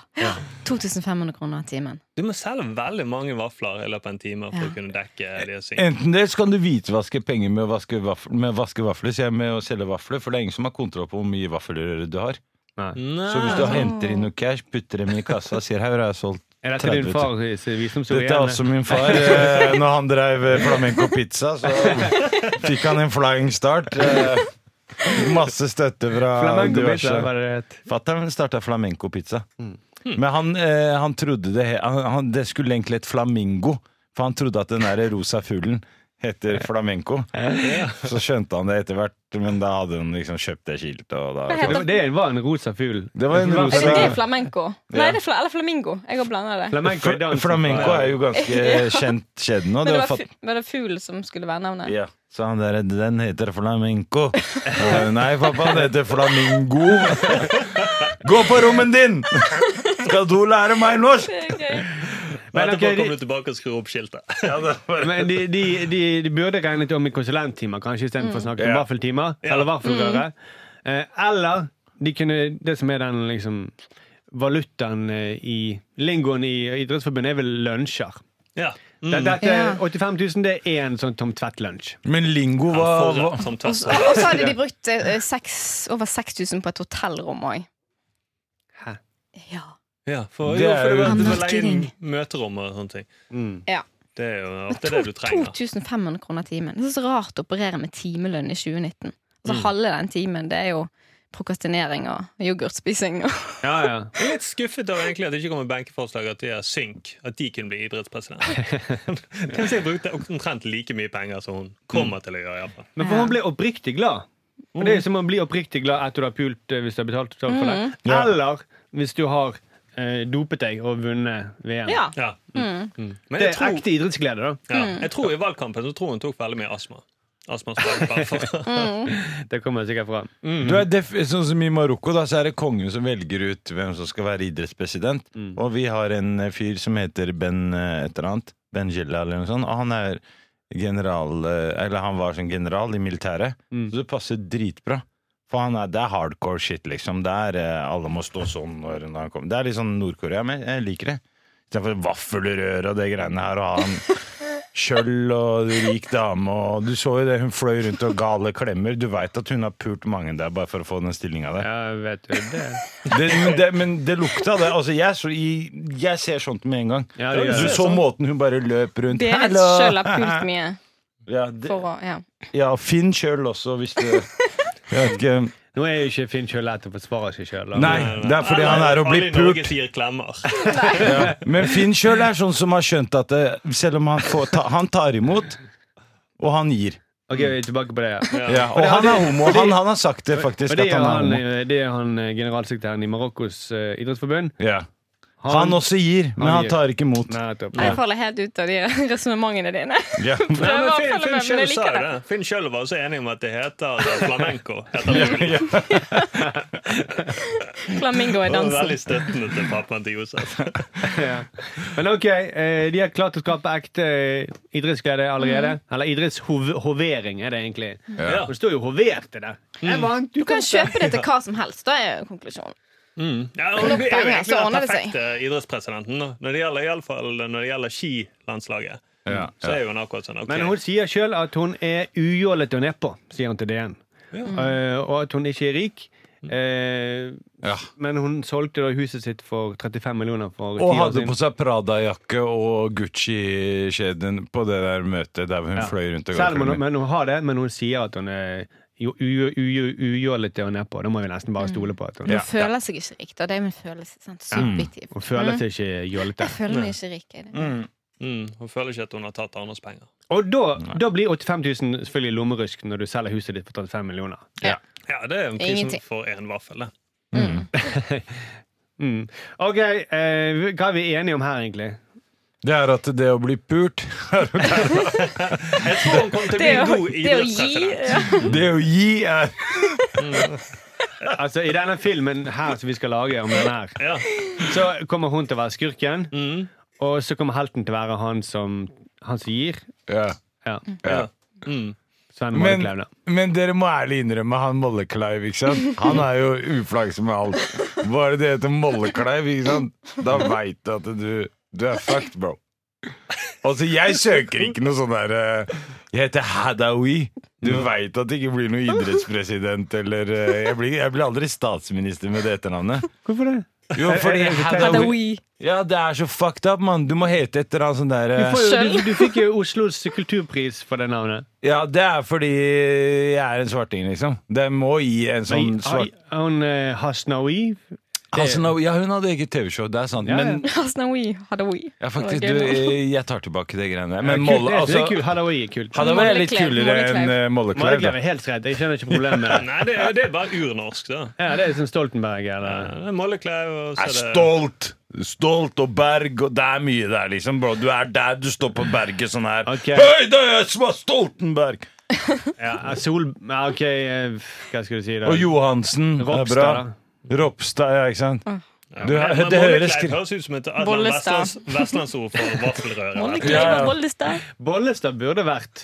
S6: 2500 kroner timen.
S4: Du må selge veldig mange vafler i løpet av en time for
S6: Ja.
S4: å kunne dekke de og synke.
S5: Enten det, så kan du hvitvaske penger med å vaske vafler, med å vaske vafler sier jeg, med å selge vafler, for det er ingen som har kontroll på hvor mye vafler du har.
S2: Mm.
S5: Så hvis du
S6: Ah.
S4: Nei.
S5: henter inn noe cash, putter dem i kassa og sier 'her har jeg solgt
S2: Er dette
S5: 30
S2: din
S5: 000'.
S2: fars visdomsord?
S5: Dette er
S2: igjen?
S5: også min far. eh, Når han drev eh, flamenco pizza, så fikk han en flying start. eh, Masse støtte fra
S2: Flamenco pizza,
S5: diverse
S2: var det et-
S5: Fatter'n starta flamenco pizza. Men han, eh, han trodde det, he- han, han, det skulle egentlig et flamingo, for han trodde at den der rosa fuglen heter flamenco. Så skjønte han det etter hvert, men da hadde han liksom kjøpt det skiltet. Og da,
S6: Hva
S2: Det var- Det var en rosa fugl.
S5: Det var en rosa-
S6: Er det, det
S5: Ja.
S6: er flamenco? Nei, det er fla eller flamingo. Jeg har blanda det.
S2: Flamenco er dansen.
S5: flamenco er jo ganske kjent kjede nå.
S6: Men det
S5: har
S6: var,
S5: fått-
S6: fu var det fugl som skulle være navnet?
S5: Ja. Så han der, den heter flamenco. Eh, Nei, pappa, den heter flamingo. Gå på rommet din! Skal du lære meg norsk?
S6: Det er gøy.
S2: Men,
S4: Men etterpå
S2: ok,
S4: kommer
S2: de-
S4: du tilbake og skrur opp skiltet.
S2: men de, de, de, de burde regnet om i konsulenttimer, kanskje istedenfor å snakke om
S5: Mm. Ja. Mm.
S2: vaffeltimer. Eller vaffelrøre. Eh, Eller de kunne, det som er den liksom, valutaen eh, i lingoen i Idrettsforbundet, er vel lunsjer.
S4: Ja. Mm.
S2: Det- Dette,
S6: Ja.
S2: 85 000 det er én sånn Tom Tvedt-lunsj.
S5: Men lingo
S4: Ja,
S5: var,
S4: for
S5: var
S4: et som
S6: Og
S4: tøss.
S6: så og så hadde de brukt eh, seks, over 6000 på et hotellrom òg.
S2: Hæ?
S6: Ja.
S4: Ja, for,
S5: Det
S4: jo,
S5: er
S4: for
S5: jo-
S4: du vet, du må
S6: Han
S4: leie inn
S6: markering.
S4: møterom og sånne ting.
S2: Mm.
S6: ja.
S4: Det er jo
S6: Men
S4: ofte det du trenger.
S6: 2500 kroner timen. Det er så rart å operere med timelønn i 2019.
S4: Mm.
S6: Altså Halve den timen det er jo prokrastinering og yoghurtspising. Og
S2: Ja, ja.
S4: Jeg er litt skuffet over egentlig at det ikke kommer benkeforslag at de er synk. At de kunne bli idrettspresident. Tenk jeg brukte omtrent like mye penger som hun kommer til å gjøre. i hvert fall.
S2: Men for hun ble oppriktig glad. Og
S5: Mm.
S2: det er som å bli oppriktig glad etter du har pult eh, hvis du har betalt betalt for det.
S5: Ja.
S2: Eller hvis du har eh, dopet deg og vunnet VM.
S6: ja.
S4: Ja. Mm. Men
S2: Det
S4: jeg
S2: er
S4: tror,
S2: ekte idrettsglede, da.
S4: ja, jeg tror i valgkampen så tror hun tok veldig mye astma. Astmaslag bare for.
S2: Det kommer jeg sikkert fra.
S5: du er def Sånn som i Marokko, da, så er det kongen som velger ut hvem som skal være idrettspresident. Og vi har en eh, fyr som heter Ben eh, et eller annet. Ben Jella eller noe sånt. Og han er general eh, Eller han var som general i militæret.
S2: Mm.
S5: Så det passer dritbra. For han er, det er hardcore shit, liksom. Det er eh, alle må stå sånn når når han kommer. Det er litt sånn Nord-Korea, men jeg liker det. Istedenfor vaffelrør og det greiene her, og han Kjøll og rik dame og Du så jo det, hun fløy rundt og ga alle klemmer. Du veit at hun har pult mange der bare for å få den stillinga der.
S2: Ja, vet du det.
S5: Det, men, det, men det lukta det. Altså, jeg, så, jeg, jeg ser sånt med en gang.
S2: Ja, det gjør
S5: du
S2: jeg.
S5: så måten hun bare løp rundt.
S6: Det er litt
S5: «Hallo!»
S6: sjøl har pult mye
S5: Ja, det,
S6: for å ja.
S5: ja Finn kjøll også, hvis du Jeg vet ikke.
S2: Nå er jo ikke Finn Kjøll lett å forsvare seg sjøl.
S5: Nei, det er fordi han er å bli
S4: Alle i
S5: pult.
S4: Norge sier klemmer.
S5: Men Finn sjøl er sånn som har skjønt at det, selv om han, får ta, han tar imot, og han gir.
S2: Ok, vi er tilbake på det. her.
S5: Ja, og han er homo. Han, han har sagt det, faktisk.
S2: Og det
S5: At
S2: er
S5: han er
S2: han,
S5: homo.
S2: eh, det er han eh, generalsekretæren i Marokkos eh, idrettsforbund.
S5: Ja. Han også gir, men
S2: han
S5: han
S2: gir.
S5: tar ikke imot.
S2: Nei, nettopp.
S6: Jeg faller helt ut av de resonnementene dine.
S5: Ja.
S4: Ja,
S6: Prøver
S4: men
S6: å
S4: Finn, Finn
S6: følge med, men
S4: Kjell sa jo
S6: jeg liker det.
S4: det. Finn Kjell var også enig om at det heter flamenco. Heter det.
S6: Flamingo i
S4: Det var
S6: dansen.
S4: veldig støttende til pappaen til Josef.
S2: Ja. Men ok, eh, de har klart å skape ekte eh, idrettsglede
S5: Mhm.
S2: allerede. Eller idrettshovering, er det egentlig.
S4: Ja.
S2: Og Det står jo hoverte der. Mm. Jeg vant,
S6: Du kan kjøpe det til hva som helst. Da er konklusjonen.
S4: Ja, og det er jo
S6: penger,
S4: egentlig
S6: så ordner
S4: den
S6: det seg.
S4: perfekte idrettspresidenten. da. Når det gjelder, i alle fall, når det gjelder skilandslaget,
S5: Ja,
S4: så er jo hun akkurat sånn. ok.
S2: Men hun sier sjøl at hun er ujålete og nedpå, sier hun til DN. Eh, og at hun ikke er rik.
S5: Mm.
S2: Eh,
S5: Ja.
S2: Men hun solgte da huset sitt for 35 millioner for
S5: Og
S2: ti år
S5: hadde
S2: siden.
S5: på seg Prada-jakke og Gucci-kjeden på det der møtet der hun
S2: Ja.
S5: fløy rundt og ga
S2: Selv om hun,
S5: filmer.
S2: men hun har det, men hun sier at hun er jo- u- u- ujålete og nedpå. Da må vi nesten bare stole på at hun,
S6: Hun
S5: Ja,
S6: føler seg ikke rik, og det er min følelse. Sant? Subjektiv.
S2: hun føler seg ikke jålete.
S6: Jeg føler meg ikke rik. Jeg.
S4: Mm, hun føler ikke at hun har tatt andres penger.
S2: Og da, da blir 85 000 selvfølgelig lommerusk når du selger huset ditt for 35 millioner.
S5: Ja.
S4: Ja, det er jo prisen
S6: Ingenting.
S4: for én vaffel. det.
S2: Mm. Ok, eh, Hva er vi enige om her, egentlig?
S5: Det er at det å bli pult
S4: Jeg tror hun kommer til å bli
S6: Det
S4: en
S6: å,
S4: god
S6: det å gi eh,
S4: idrettspresident.
S6: ja.
S5: Det å gi er
S2: Altså, I denne filmen her som vi skal lage om den her,
S4: Ja.
S2: så kommer hun til å være skurken.
S4: Mm,
S2: Og så kommer helten til å være han som, han som gir.
S5: ja.
S2: Ja.
S5: Ja.
S4: ja. Mm.
S2: Svein
S5: Men,
S2: Mollekleiv, da.
S5: men dere må ærlig innrømme han Mollekleiv, ikke sant? Han er jo uflaks med alt. Bare det heter Mollekleiv, ikke sant? Da veit du at du, du er fucked, bro. Altså, jeg søker ikke noe sånn derre Jeg heter Hadaoui. Du
S2: Mm.
S5: veit at det ikke blir noen idrettspresident eller eh, jeg blir, jeg blir aldri statsminister med det etternavnet.
S2: Hvorfor det?
S5: Jo, fordi Hadaoui
S6: Hadaoui.
S5: Ja, det er så fucked up, mann. Du må hete et eller annet sånn derre
S2: Du, får jo,
S6: Skjønn.
S2: du, du fikk jo Oslos kulturpris for det navnet.
S5: Ja, det er fordi jeg er en svarting, liksom. Det må gi en sånn
S2: Men,
S5: svart...
S2: har- Hun eh, Hasnaoui
S5: Hasanoui- Altså, ja, hun hadde eget TV-show, det er sant.
S2: Ja, ja.
S5: Men
S6: Hasnaoui. Hadaoui.
S5: ja, faktisk,
S6: Det var
S5: du,
S6: gøy nå.
S5: eh, jeg tar tilbake det greiene. Men
S2: Eh, Kult,
S5: Molle,
S2: det er- det
S5: altså
S2: er kult. Hadaoui er kult.
S5: Hadde vært litt
S6: Mollekleiv,
S5: kulere enn
S6: Mollekleiv.
S5: eh, Mollekleiv.
S2: Mollekleiv
S5: da.
S2: er helt rett. Jeg skjønner ikke problemet med det.
S4: Nei, det, er- det er bare urnorsk, da.
S2: Ja, det er som Stoltenberg eller
S4: Ja, det er Mollekleiv og
S5: Er
S4: så er det
S5: stolt! Stolt og berg, og det er mye der, liksom. Bro, du er der du står på berget sånn her.
S2: Ok.
S5: Hei, det er jeg som er Stoltenberg!
S2: ja, Sol... Ja, OK, eh, hva skal du si da?
S5: Og Johansen. det er bra.
S2: Ropstad,
S5: Ropstad, ja, ikke sant? Du,
S4: Ja, men
S5: det høres
S4: Mollekleiv høres ut som et et eller annet
S6: Bollestad.
S4: vestlands- vestlandsord for vaffelrøre.
S5: Ja, ja.
S6: Mollekleiv og Bollestad.
S2: Bollestad burde vært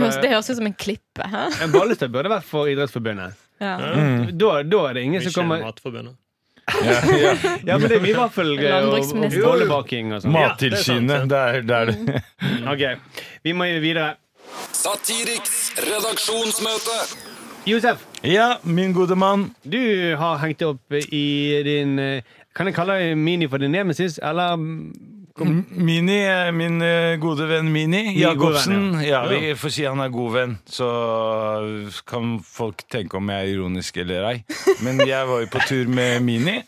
S6: Høres- Det høres ut som en klippe. Hæ?
S2: en Bollestad burde vært for Idrettsforbundet.
S6: Ja.
S2: Da, da er det ingen som
S4: Ikke
S2: Mm. kommer
S4: Matforbundet.
S5: Ja, ja.
S2: Ja, men det er mye vaffelgreier og, eh, og
S6: Landbruksminister.
S2: bollebaking og sånn.
S5: Mattilsynet. Det er det. Er
S2: Mm.
S5: det.
S2: Ok, Vi må jo videre.
S3: Satiriks redaksjonsmøte.
S2: Josef,
S5: Ja, min gode mann.
S2: du har hengt deg opp i din eh, Kan jeg kalle deg Mini for din nemesis, eller mm,
S5: M- Mini, eh, min eh, gode venn Mini
S2: gode
S5: Jacobsen.
S2: venn,
S5: Ja, vi får si han er god venn, så eh, kan folk tenke om jeg er ironisk eller ei. Men jeg var jo på tur med Mini.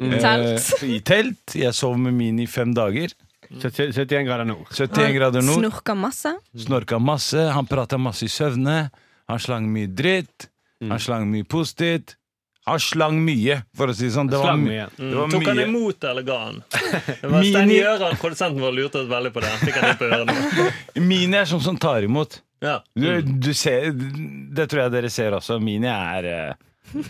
S5: eh,
S6: Telt.
S5: I telt. Jeg sov med Mini i fem dager.
S2: 71 grader nord?
S5: 71 grader nord.
S6: Snorker masse.
S5: Snorka masse. Han prata masse i søvne. Han slang mye dritt.
S4: Mm.
S5: Han slang mye positivt. Han slang mye, for å si det sånn. Det var,
S2: Slang
S5: my-
S2: mye.
S5: Det var
S4: Mm. Tok han
S5: mye.
S4: imot det, eller ga han? Det var
S5: Mini-
S4: Stein Gjøran, produsenten vår, lurte veldig på det. Fikk han inn på ørene.
S5: Mini er sånn som tar imot.
S4: Ja.
S5: Du, du ser, det tror jeg dere ser også. Mini er eh.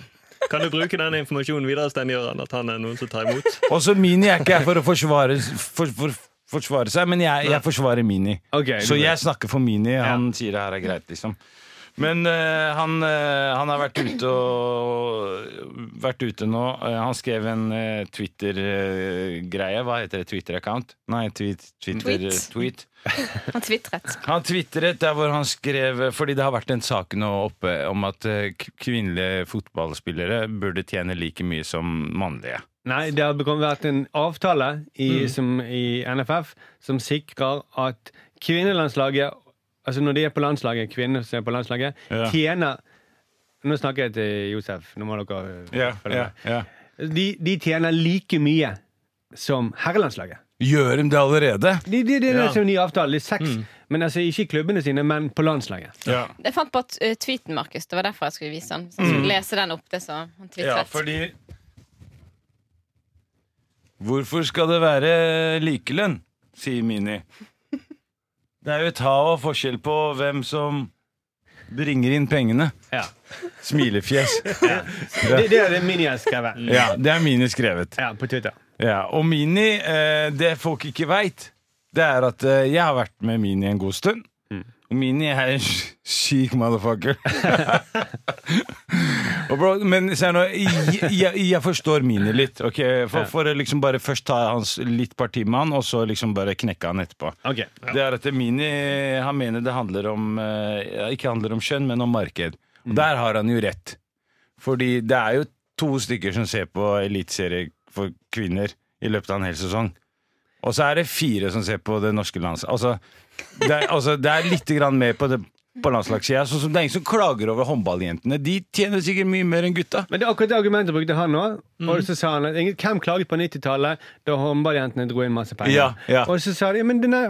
S4: Kan du bruke den informasjonen videre, Stein Gjøran? At han er noen som tar imot?
S5: Også Mini er ikke her for å forsvare, for, for, forsvare seg, men jeg, jeg forsvarer Mini.
S2: Ok,
S5: Så
S2: du-
S5: jeg snakker for Mini. Han sier det her er greit, liksom. Men eh, han, eh, han har vært ute og Vært ute nå. Eh, han skrev en eh, Twitter-greie. Hva heter det? Twitter-account? Nei, tweet, Twitter,
S6: Tweet.
S5: tweet.
S6: Han tvitret.
S5: Han tvitret der hvor han skrev Fordi det har vært en sak nå oppe om at eh, k- kvinnelige fotballspillere burde tjene like mye som mannlige.
S2: Nei, det har bekommet- vært en avtale i, som, i NFF som sikrer at kvinnelandslaget Altså når de er på landslaget, kvinner som er på landslaget,
S5: Ja.
S2: tjener Nå snakker jeg til Josef. Nå må dere øh, følge med. De, de tjener like mye som herrelandslaget.
S5: Gjør de det allerede?
S2: De, de, de,
S4: Ja.
S2: Det er en ny avtale. Det er seks. Men altså ikke i klubbene sine, men på landslaget.
S5: Ja.
S6: Jeg fant på t- eh, tweeten, Markus. Det var derfor jeg skulle vise den. Så jeg skulle lese den opp, det så han
S5: ja,
S6: tvitret.
S5: fordi Hvorfor skal det være likelønn? sier Mini. Det er jo et hav av forskjell på hvem som bringer inn pengene.
S2: Ja.
S5: Smilefjes.
S2: Det, det er det min jeg skrev.
S5: Ja, det er Mini skrevet.
S2: Ja, på Twitter.
S5: Ja, og Mini, eh, det folk ikke veit, det er at eh, jeg har vært med Mini en god stund. Omini er en chic motherfucker. og bro, men se her nå, jeg, jeg, jeg forstår Mini litt. ok?
S4: Ja.
S5: For, for å liksom bare først ta hans litt parti med han, og så liksom bare knekke han etterpå.
S2: Ok.
S5: Det er at Mini han mener det handler om eh, ja, Ikke handler om kjønn, men om marked. Og
S2: Mm.
S5: der har han jo rett. Fordi det er jo to stykker som ser på eliteserie for kvinner i løpet av en hel sesong. Og så er det fire som ser på det norske landslaget. Altså, det er, altså, det er litt grann mer på, det- på landslagssida. Sånn som det er ingen som klager over håndballjentene. De tjener sikkert mye mer enn gutta.
S2: Men det er akkurat det argumentet brukte han òg.
S5: Mm.
S2: Og så sa han at ingen- hvem klaget på 90-tallet da håndballjentene dro inn masse penger?
S5: Ja, ja.
S2: Og så sa de men denne,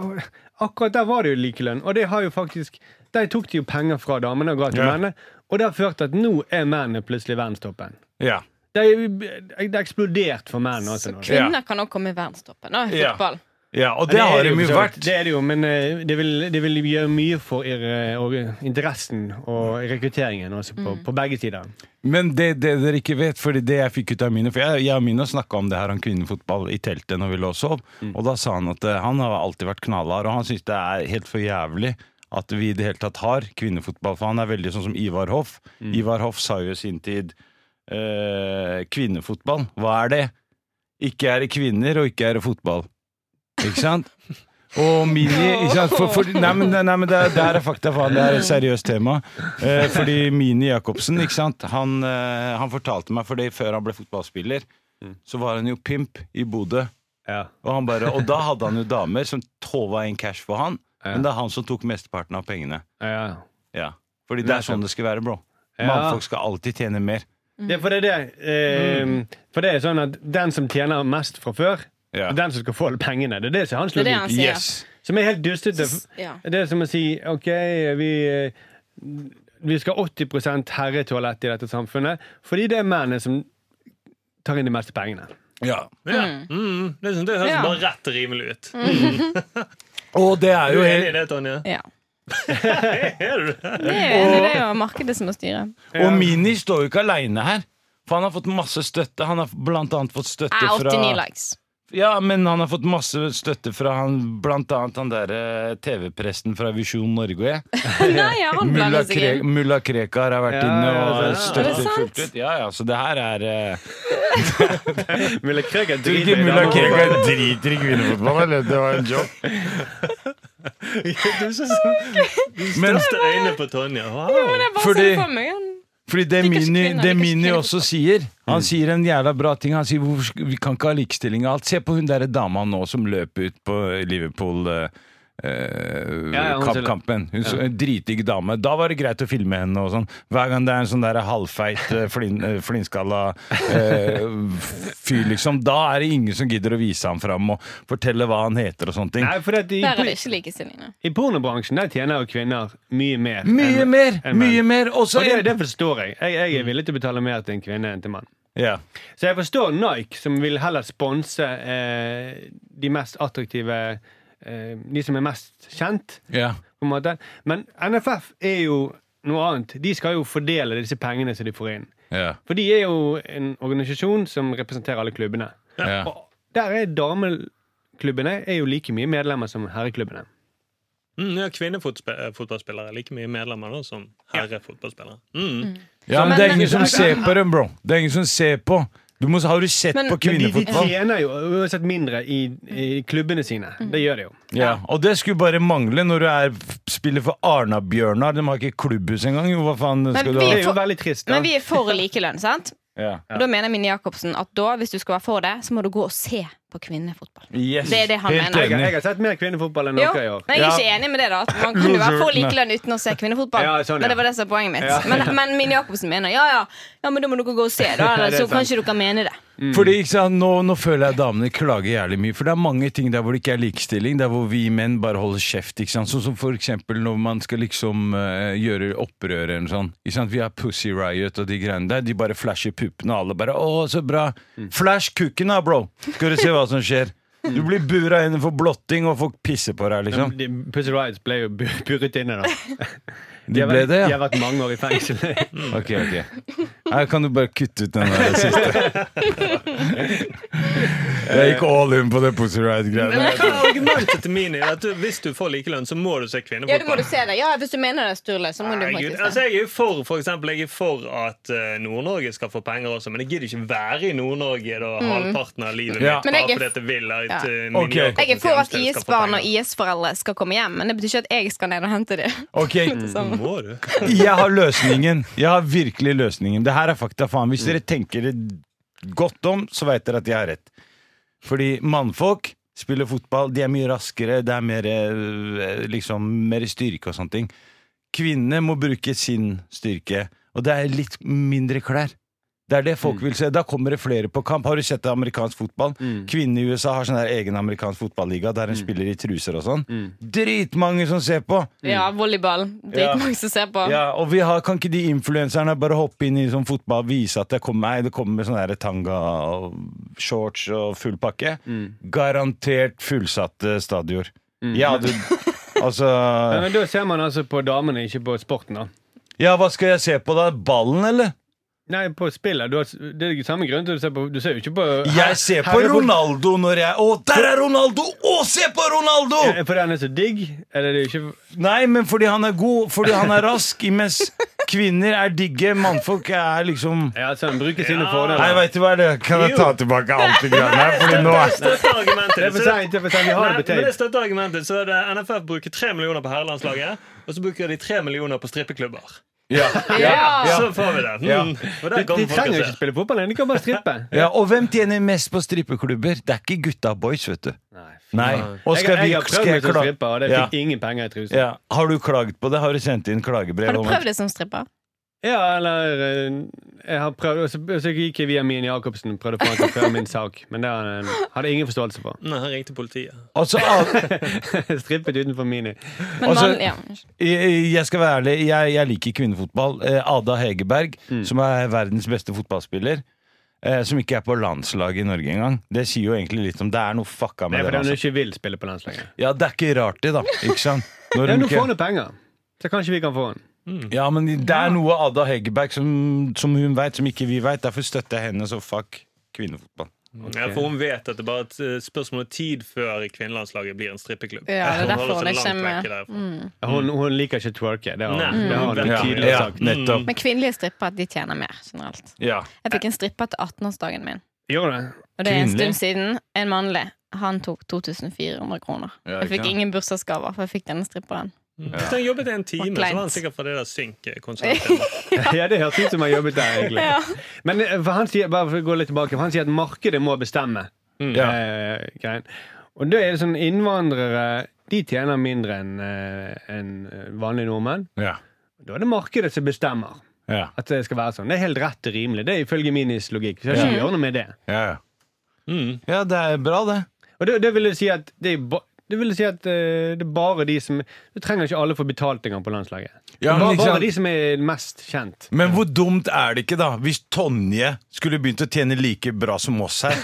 S2: akkurat der var det jo likelønn. Og det har jo faktisk der tok de jo penger fra damene og ga til
S5: Ja.
S2: mennene. Og det har ført til at nå er mennene plutselig verdenstoppen.
S5: Ja.
S2: Det er, jo- det er eksplodert for menn. Også, Altså, nå.
S6: Kvinner kan også komme i verdenstoppen. Nå,
S5: Ja.
S6: fotball.
S5: ja og det,
S2: er
S5: har de
S2: jo for så
S5: jo
S2: vidt.
S5: vært.
S2: Det er det jo, men eh, det vil, det vil gjøre mye for eh, og- interessen og rekrutteringen også på,
S5: Mm.
S2: på begge sider.
S5: Men det, det dere ikke vet, fordi det jeg fikk ut av Mino For jeg, jeg og Mino snakka om det her om kvinnefotball i teltet når vi lå og sov. Og da sa han at eh, han har alltid vært knallhard, og han syns det er helt for jævlig at vi i det hele tatt har kvinnefotball. For han er veldig sånn som Ivar Hoff. Ivar Hoff sa jo i sin tid eh, kvinnefotball, hva er det? Ikke er det kvinner, og ikke er det fotball. Ikke sant? Og Mini ikke sant? For, for, Nei, men, nei, men det, er- det her er fakta, faen. Det er et seriøst tema. Eh, fordi Mini Jacobsen, ikke sant? Han, eh, han fortalte meg, fordi før han ble fotballspiller, så var han jo pimp i Bodø. Og, han bare, og da hadde han jo damer som tova inn cash for han, men det er han som tok mesteparten av pengene.
S2: Ja.
S5: Ja. Fordi det er sånn det skal være, bro.
S2: Ja.
S5: Mannfolk skal alltid tjene mer.
S2: Det er for det, er det. Eh, For det er sånn at den som tjener mest fra før,
S5: Mm. Ja.
S2: er den som skal få alle pengene. Det er det som er hans
S6: Det er det
S2: logikk.
S6: han sier.
S5: Yes!
S2: Som er helt dustete.
S6: Ja.
S2: Det er som å si OK, vi eh, vi skal ha 80 herretoalett i dette samfunnet, fordi det er mennene som tar inn de meste pengene.
S5: Ja.
S4: Ja. Mm. Det, synes- det høres
S6: Ja. Mm.
S4: bare rett rimelig ut.
S5: Og det er
S4: Er du
S5: jo
S4: enig i
S5: helt
S4: det, Tonje?
S6: Ja.
S4: Er du det?
S6: Det er jo det er jo markedet som må styre.
S5: Og Mini står jo ikke aleine her. For han har fått masse støtte. Han har blant annet fått støtte
S6: Ah, 89
S5: fra
S6: likes.
S5: Ja, men han har fått masse støtte fra han blant annet han derre TV-presten fra Visjon Norge.
S6: Nei, ja, han
S5: Mulla,
S6: blander seg
S5: Kre
S6: inn.
S5: Mulla Krekar har vært
S2: Ja,
S5: inne og
S2: ja,
S5: har
S2: så-
S6: Er det
S5: støttet
S6: sant?
S5: fullt ut. Ja, ja, så det her er eh,
S2: Mulla Krekar
S5: Tror ikke Mulla Krekar driter i kvinnefotball, eller? Det var en jobb.
S4: Du ser så
S5: Men
S4: største øyne på Tonje.
S6: Ja, men
S4: Wow.
S6: jeg bare
S5: Fordi-
S6: ser for meg han.
S5: Fordi det
S6: Liker ikke
S5: Mini,
S6: kvinner,
S5: det
S6: liker ikke
S5: Mini
S6: kvinner.
S5: også sier
S2: Mm.
S5: Han sier en jævla bra ting. Han sier hvorfor sk- vi kan ikke ha likestilling og alt. Se på hun derre dama nå som løp ut på eh, Liverpool-kampen.
S2: Ja, ja, hun ser-
S5: hun så, En dritdigg dame. Da var det greit å filme henne. og sånn Hver gang det er en sånn der halvfeit, eh, flin, eh, flintskalla eh, fyr, liksom, da er det ingen som gidder å vise ham fram og fortelle hva han heter og sånne ting.
S2: Nei, for at i,
S6: Der er det ikke likestilling. nei.
S2: i pornobransjen der tjener jo kvinner mye mer.
S5: Mye
S2: enn-
S5: mer!
S2: enn menn.
S5: Mye mer! Også
S2: Og det,
S5: en Mm.
S2: det forstår jeg. jeg. Jeg er villig til å betale mer til en kvinne enn til mann.
S5: ja.
S2: Så jeg forstår Nike, som vil heller sponse eh, de mest attraktive eh, De som er mest kjent,
S5: Ja.
S2: på en måte. Men NFF er jo noe annet. De skal jo fordele disse pengene som de får inn.
S5: Ja.
S2: For de er jo en organisasjon som representerer alle klubbene.
S5: Ja.
S2: Og der er dameklubbene er jo like mye medlemmer som herreklubbene.
S4: Mm, ja, Kvinnefotballspillere er like mye medlemmer da, som herrefotballspillere. Mm.
S5: Ja, men
S6: men-
S5: det er ingen
S6: men-
S5: som ser på dem, bro. Det er ingen som ser på. Du må, har du sett
S6: Men-
S5: på
S2: Men de, de
S5: kvinnefotball?
S2: tjener jo uansett mindre i, i klubbene sine. Det gjør de jo.
S5: ja. Og det skulle bare mangle når du er, spiller for Arna-Bjørnar. De har ikke klubbhus engang. Jo, hva faen skal du
S2: Det
S5: ha?
S6: vi-
S2: er jo veldig trist. Da.
S6: Men vi er for likelønn, sant?
S5: Ja.
S6: Og da mener Mini Jacobsen at da, hvis du skal være for det, så må du gå og se på kvinnefotball.
S5: Yes.
S6: Det er det han
S5: Helt
S6: mener.
S2: Jeg,
S5: enig.
S2: jeg har sett mer kvinnefotball enn
S6: Jo,
S2: dere i år.
S6: men Jeg er
S5: Ja.
S6: ikke enig med det, da. At man kan jo være for likelønn uten å se kvinnefotball.
S2: Ja, sånn, ja.
S6: Men det var det som var poenget mitt.
S2: Ja.
S6: Men, men Mini Jacobsen mener ja, ja, ja, men da må dere gå og se, da.
S2: Ja,
S6: Eller,
S2: det er
S6: så kan
S2: sant.
S6: ikke dere mene det.
S5: Fordi, ikke sant, nå, nå føler jeg damene klager jævlig mye. For det er mange ting der hvor det ikke er likestilling. Der hvor vi menn bare holder kjeft. Ikke sant? Sånn som for eksempel når man skal liksom eh, gjøre opprør eller noe sånt. Ikke sant? Vi har Pussy Riot og de greiene der. De bare flasher puppene, og alle bare 'Å, så bra'. Flash kukken da, bro! Skal du se hva som skjer. Du blir bura inne for blotting, og folk pisser på deg, liksom.
S2: De- Pussy Riots ble jo bu- buret inne, da.
S5: De
S2: har
S5: ble
S2: vært- De
S5: det, ja?
S2: har vært mange år i fengsel.
S5: Ok, ok. Her kan du bare kutte ut den der siste. Jeg gikk all in på det Pussy Riot-greiene.
S4: Argumentet til min er at du- hvis du får likelønn, så må du se
S6: Ja, du må
S4: kvinnefotball.
S6: du se det. Ja, hvis du mener det, Sturle, så må du
S4: Nei, Gud,
S6: faktisk
S4: altså
S6: det.
S4: jeg er jo for, for eksempel, jeg er for at eh, Nord-Norge skal få penger også, men jeg gidder ikke være i Nord-Norge da halvparten av livet
S5: Ja.
S4: mitt
S6: Mm. Men jeg
S4: bare
S6: er
S4: fordi at jeg vil at
S6: Ja.
S4: eh, min
S5: Ok.
S4: Jakobsen
S6: Jeg er for at
S4: Tjenesten skal få
S6: IS-barn og
S4: penger.
S6: IS-foreldre skal komme hjem, men det betyr ikke at jeg skal ned og hente dem.
S5: Ok,
S6: Sånn.
S4: Må du?
S5: jeg har løsningen. Jeg har virkelig løsningen. Det her er fakta, faen. Hvis dere tenker det godt om, så veit dere at jeg har rett. Fordi mannfolk spiller fotball, de er mye raskere, det er mer, eh, liksom, mer styrke og sånne ting. Kvinnene må bruke sin styrke, og det er litt mindre klær. Det er det folk vil se. Da kommer det flere på kamp. Har du sett det amerikansk fotball? Kvinnene i USA har sånn der egen amerikansk fotballiga der hun spiller i truser og sånn. Dritmange som ser på!
S6: Ja, volleyball. Dritmange som ser på.
S5: Ja, og vi har, Kan ikke de influenserne bare hoppe inn i sånn fotball og vise at det kommer, nei, det kommer sånne der tanga og shorts og full pakke? Garantert fullsatte stadioner. Ja, du Altså
S2: Ja, men Da ser man altså på damene, ikke på sporten. da
S5: Ja, hva skal jeg se på da? Ballen, eller?
S2: Nei, på spillet. Du har, det er jo samme grunn til at du ser på Du ser jo ikke på
S5: Jeg ser på
S2: Herre-
S5: Ronaldo når jeg Å, der er Ronaldo! Å, se på Ronaldo!
S2: Er det fordi han er så digg? Eller er det ikke
S5: Nei, men fordi han er god, fordi han er rask, mens kvinner er digge, mannfolk er liksom
S2: Ja, altså, han bruker sine
S4: Ja.
S5: Nei,
S2: fordeler.
S5: veit du hva det er? Kan jeg ta tilbake alt det greiene her? Fordi nå
S4: Jeg støtter argumentet.
S2: Det er for seint. det er for sent, Vi har
S4: Nei,
S2: det på
S4: men
S2: tape.
S4: det støtter argumentet. Så er det NFF bruker 3 millioner på herrelandslaget, og så bruker de 3 millioner på strippeklubber.
S6: Ja.
S4: Så får vi det. Mm.
S5: Ja.
S4: Og
S2: De,
S4: der
S2: de
S4: kommer folk
S2: trenger
S4: og
S2: jo ikke
S4: ser.
S2: spille fotball, de kan bare strippe.
S5: Ja, og hvem tjener mest på strippeklubber? Det er ikke gutta boys, vet du. Nei. Og
S2: Jeg,
S5: skal
S2: jeg
S5: vi,
S2: har prøvd
S5: skal jeg
S2: meg som
S5: klage?
S2: stripper, og det
S5: Ja.
S2: fikk ingen penger i trusen.
S5: Ja. Har du klaget på det? Har du sendt inn klagebrev?
S6: Har du
S5: om-
S6: prøvd det som stripper?
S2: Ja, eller eh, Jeg har prøvd og så, og så gikk jeg via Mien Jacobsen og prøvde å få han til å føre min sak, men det har han- eh, hadde ingen forståelse for.
S4: Nei, han ringte politiet.
S5: Altså, al-
S2: Strippet utenfor Mini.
S6: Men
S5: Altså-
S6: vanlig, ja.
S5: jeg jeg skal være ærlig, jeg, jeg liker kvinnefotball. Eh, Ada Hegerberg,
S2: Mm.
S5: som er verdens beste fotballspiller. eh, Som ikke er på landslaget i Norge engang. Det sier jo egentlig litt om det er noe fucka
S2: Det
S5: med
S2: er
S5: det.
S2: fordi han
S5: Altså.
S2: ikke vil spille på landslaget.
S5: Ja, det er ikke rart, det, da. Ikke sant? Når
S2: Ja,
S5: hun
S2: nå
S5: ikke-
S2: får han jo penger, så kanskje vi kan få han.
S5: Ja, men det er noe Ada Hegerberg som, som hun veit, som ikke vi veit. Derfor støtter jeg henne, så fuck kvinnefotball.
S4: Ja, for hun vet at det bare er et eh, spørsmål om tid før kvinnelandslaget blir en strippeklubb.
S6: Ja, det er
S4: holder
S6: derfor hun
S4: seg sånn
S6: ikke
S4: langt
S6: med. Mm.
S4: vekk derfra.
S2: Hun, hun liker ikke twerke. Det har hun,
S4: Nei.
S2: det har hun
S4: Ja,
S2: tidligere
S5: ja,
S2: sagt.
S5: nettopp.
S6: Men kvinnelige stripper de tjener mer generelt.
S5: Ja.
S6: Jeg fikk en stripper til 18-årsdagen min,
S2: Gjør det?
S6: og det er en
S5: Kvinnelig?
S6: stund siden. En mannlig. Han tok 2400 kroner.
S5: Ja,
S6: Jeg
S5: ikke
S6: fikk
S5: sant?
S6: ingen bursdagsgaver, for jeg fikk denne stripperen.
S4: Hvis han jobbet i en time, så
S6: kleint.
S4: var han sikkert fra det der synk-konsertet.
S2: Ja, det hørtes ut som han jobbet der, egentlig.
S6: Ja.
S2: Men eh, for han sier, bare for å gå litt tilbake, for han sier at markedet må bestemme.
S5: Ja.
S2: Eh, greien. og da er det sånn innvandrere De tjener mindre enn eh, enn, eh, vanlige nordmenn.
S5: Ja.
S2: Da er det markedet som bestemmer
S5: Ja.
S2: at det skal være sånn. Det er helt rett og rimelig. Det er ifølge Minis logikk. Så jeg skal gjøre noe med det.
S5: Ja. ja.
S4: Mm.
S5: ja, det er bra, det.
S2: Og det, det vil jo si at det er ba- det vil jo si at eh, det er bare de som Du trenger ikke alle få betalt engang på landslaget.
S5: Ja, men
S2: bare,
S5: ikke sant?
S2: bare de som er mest kjent.
S5: Men hvor dumt er det ikke, da? Hvis Tonje skulle begynt å tjene like bra som oss her.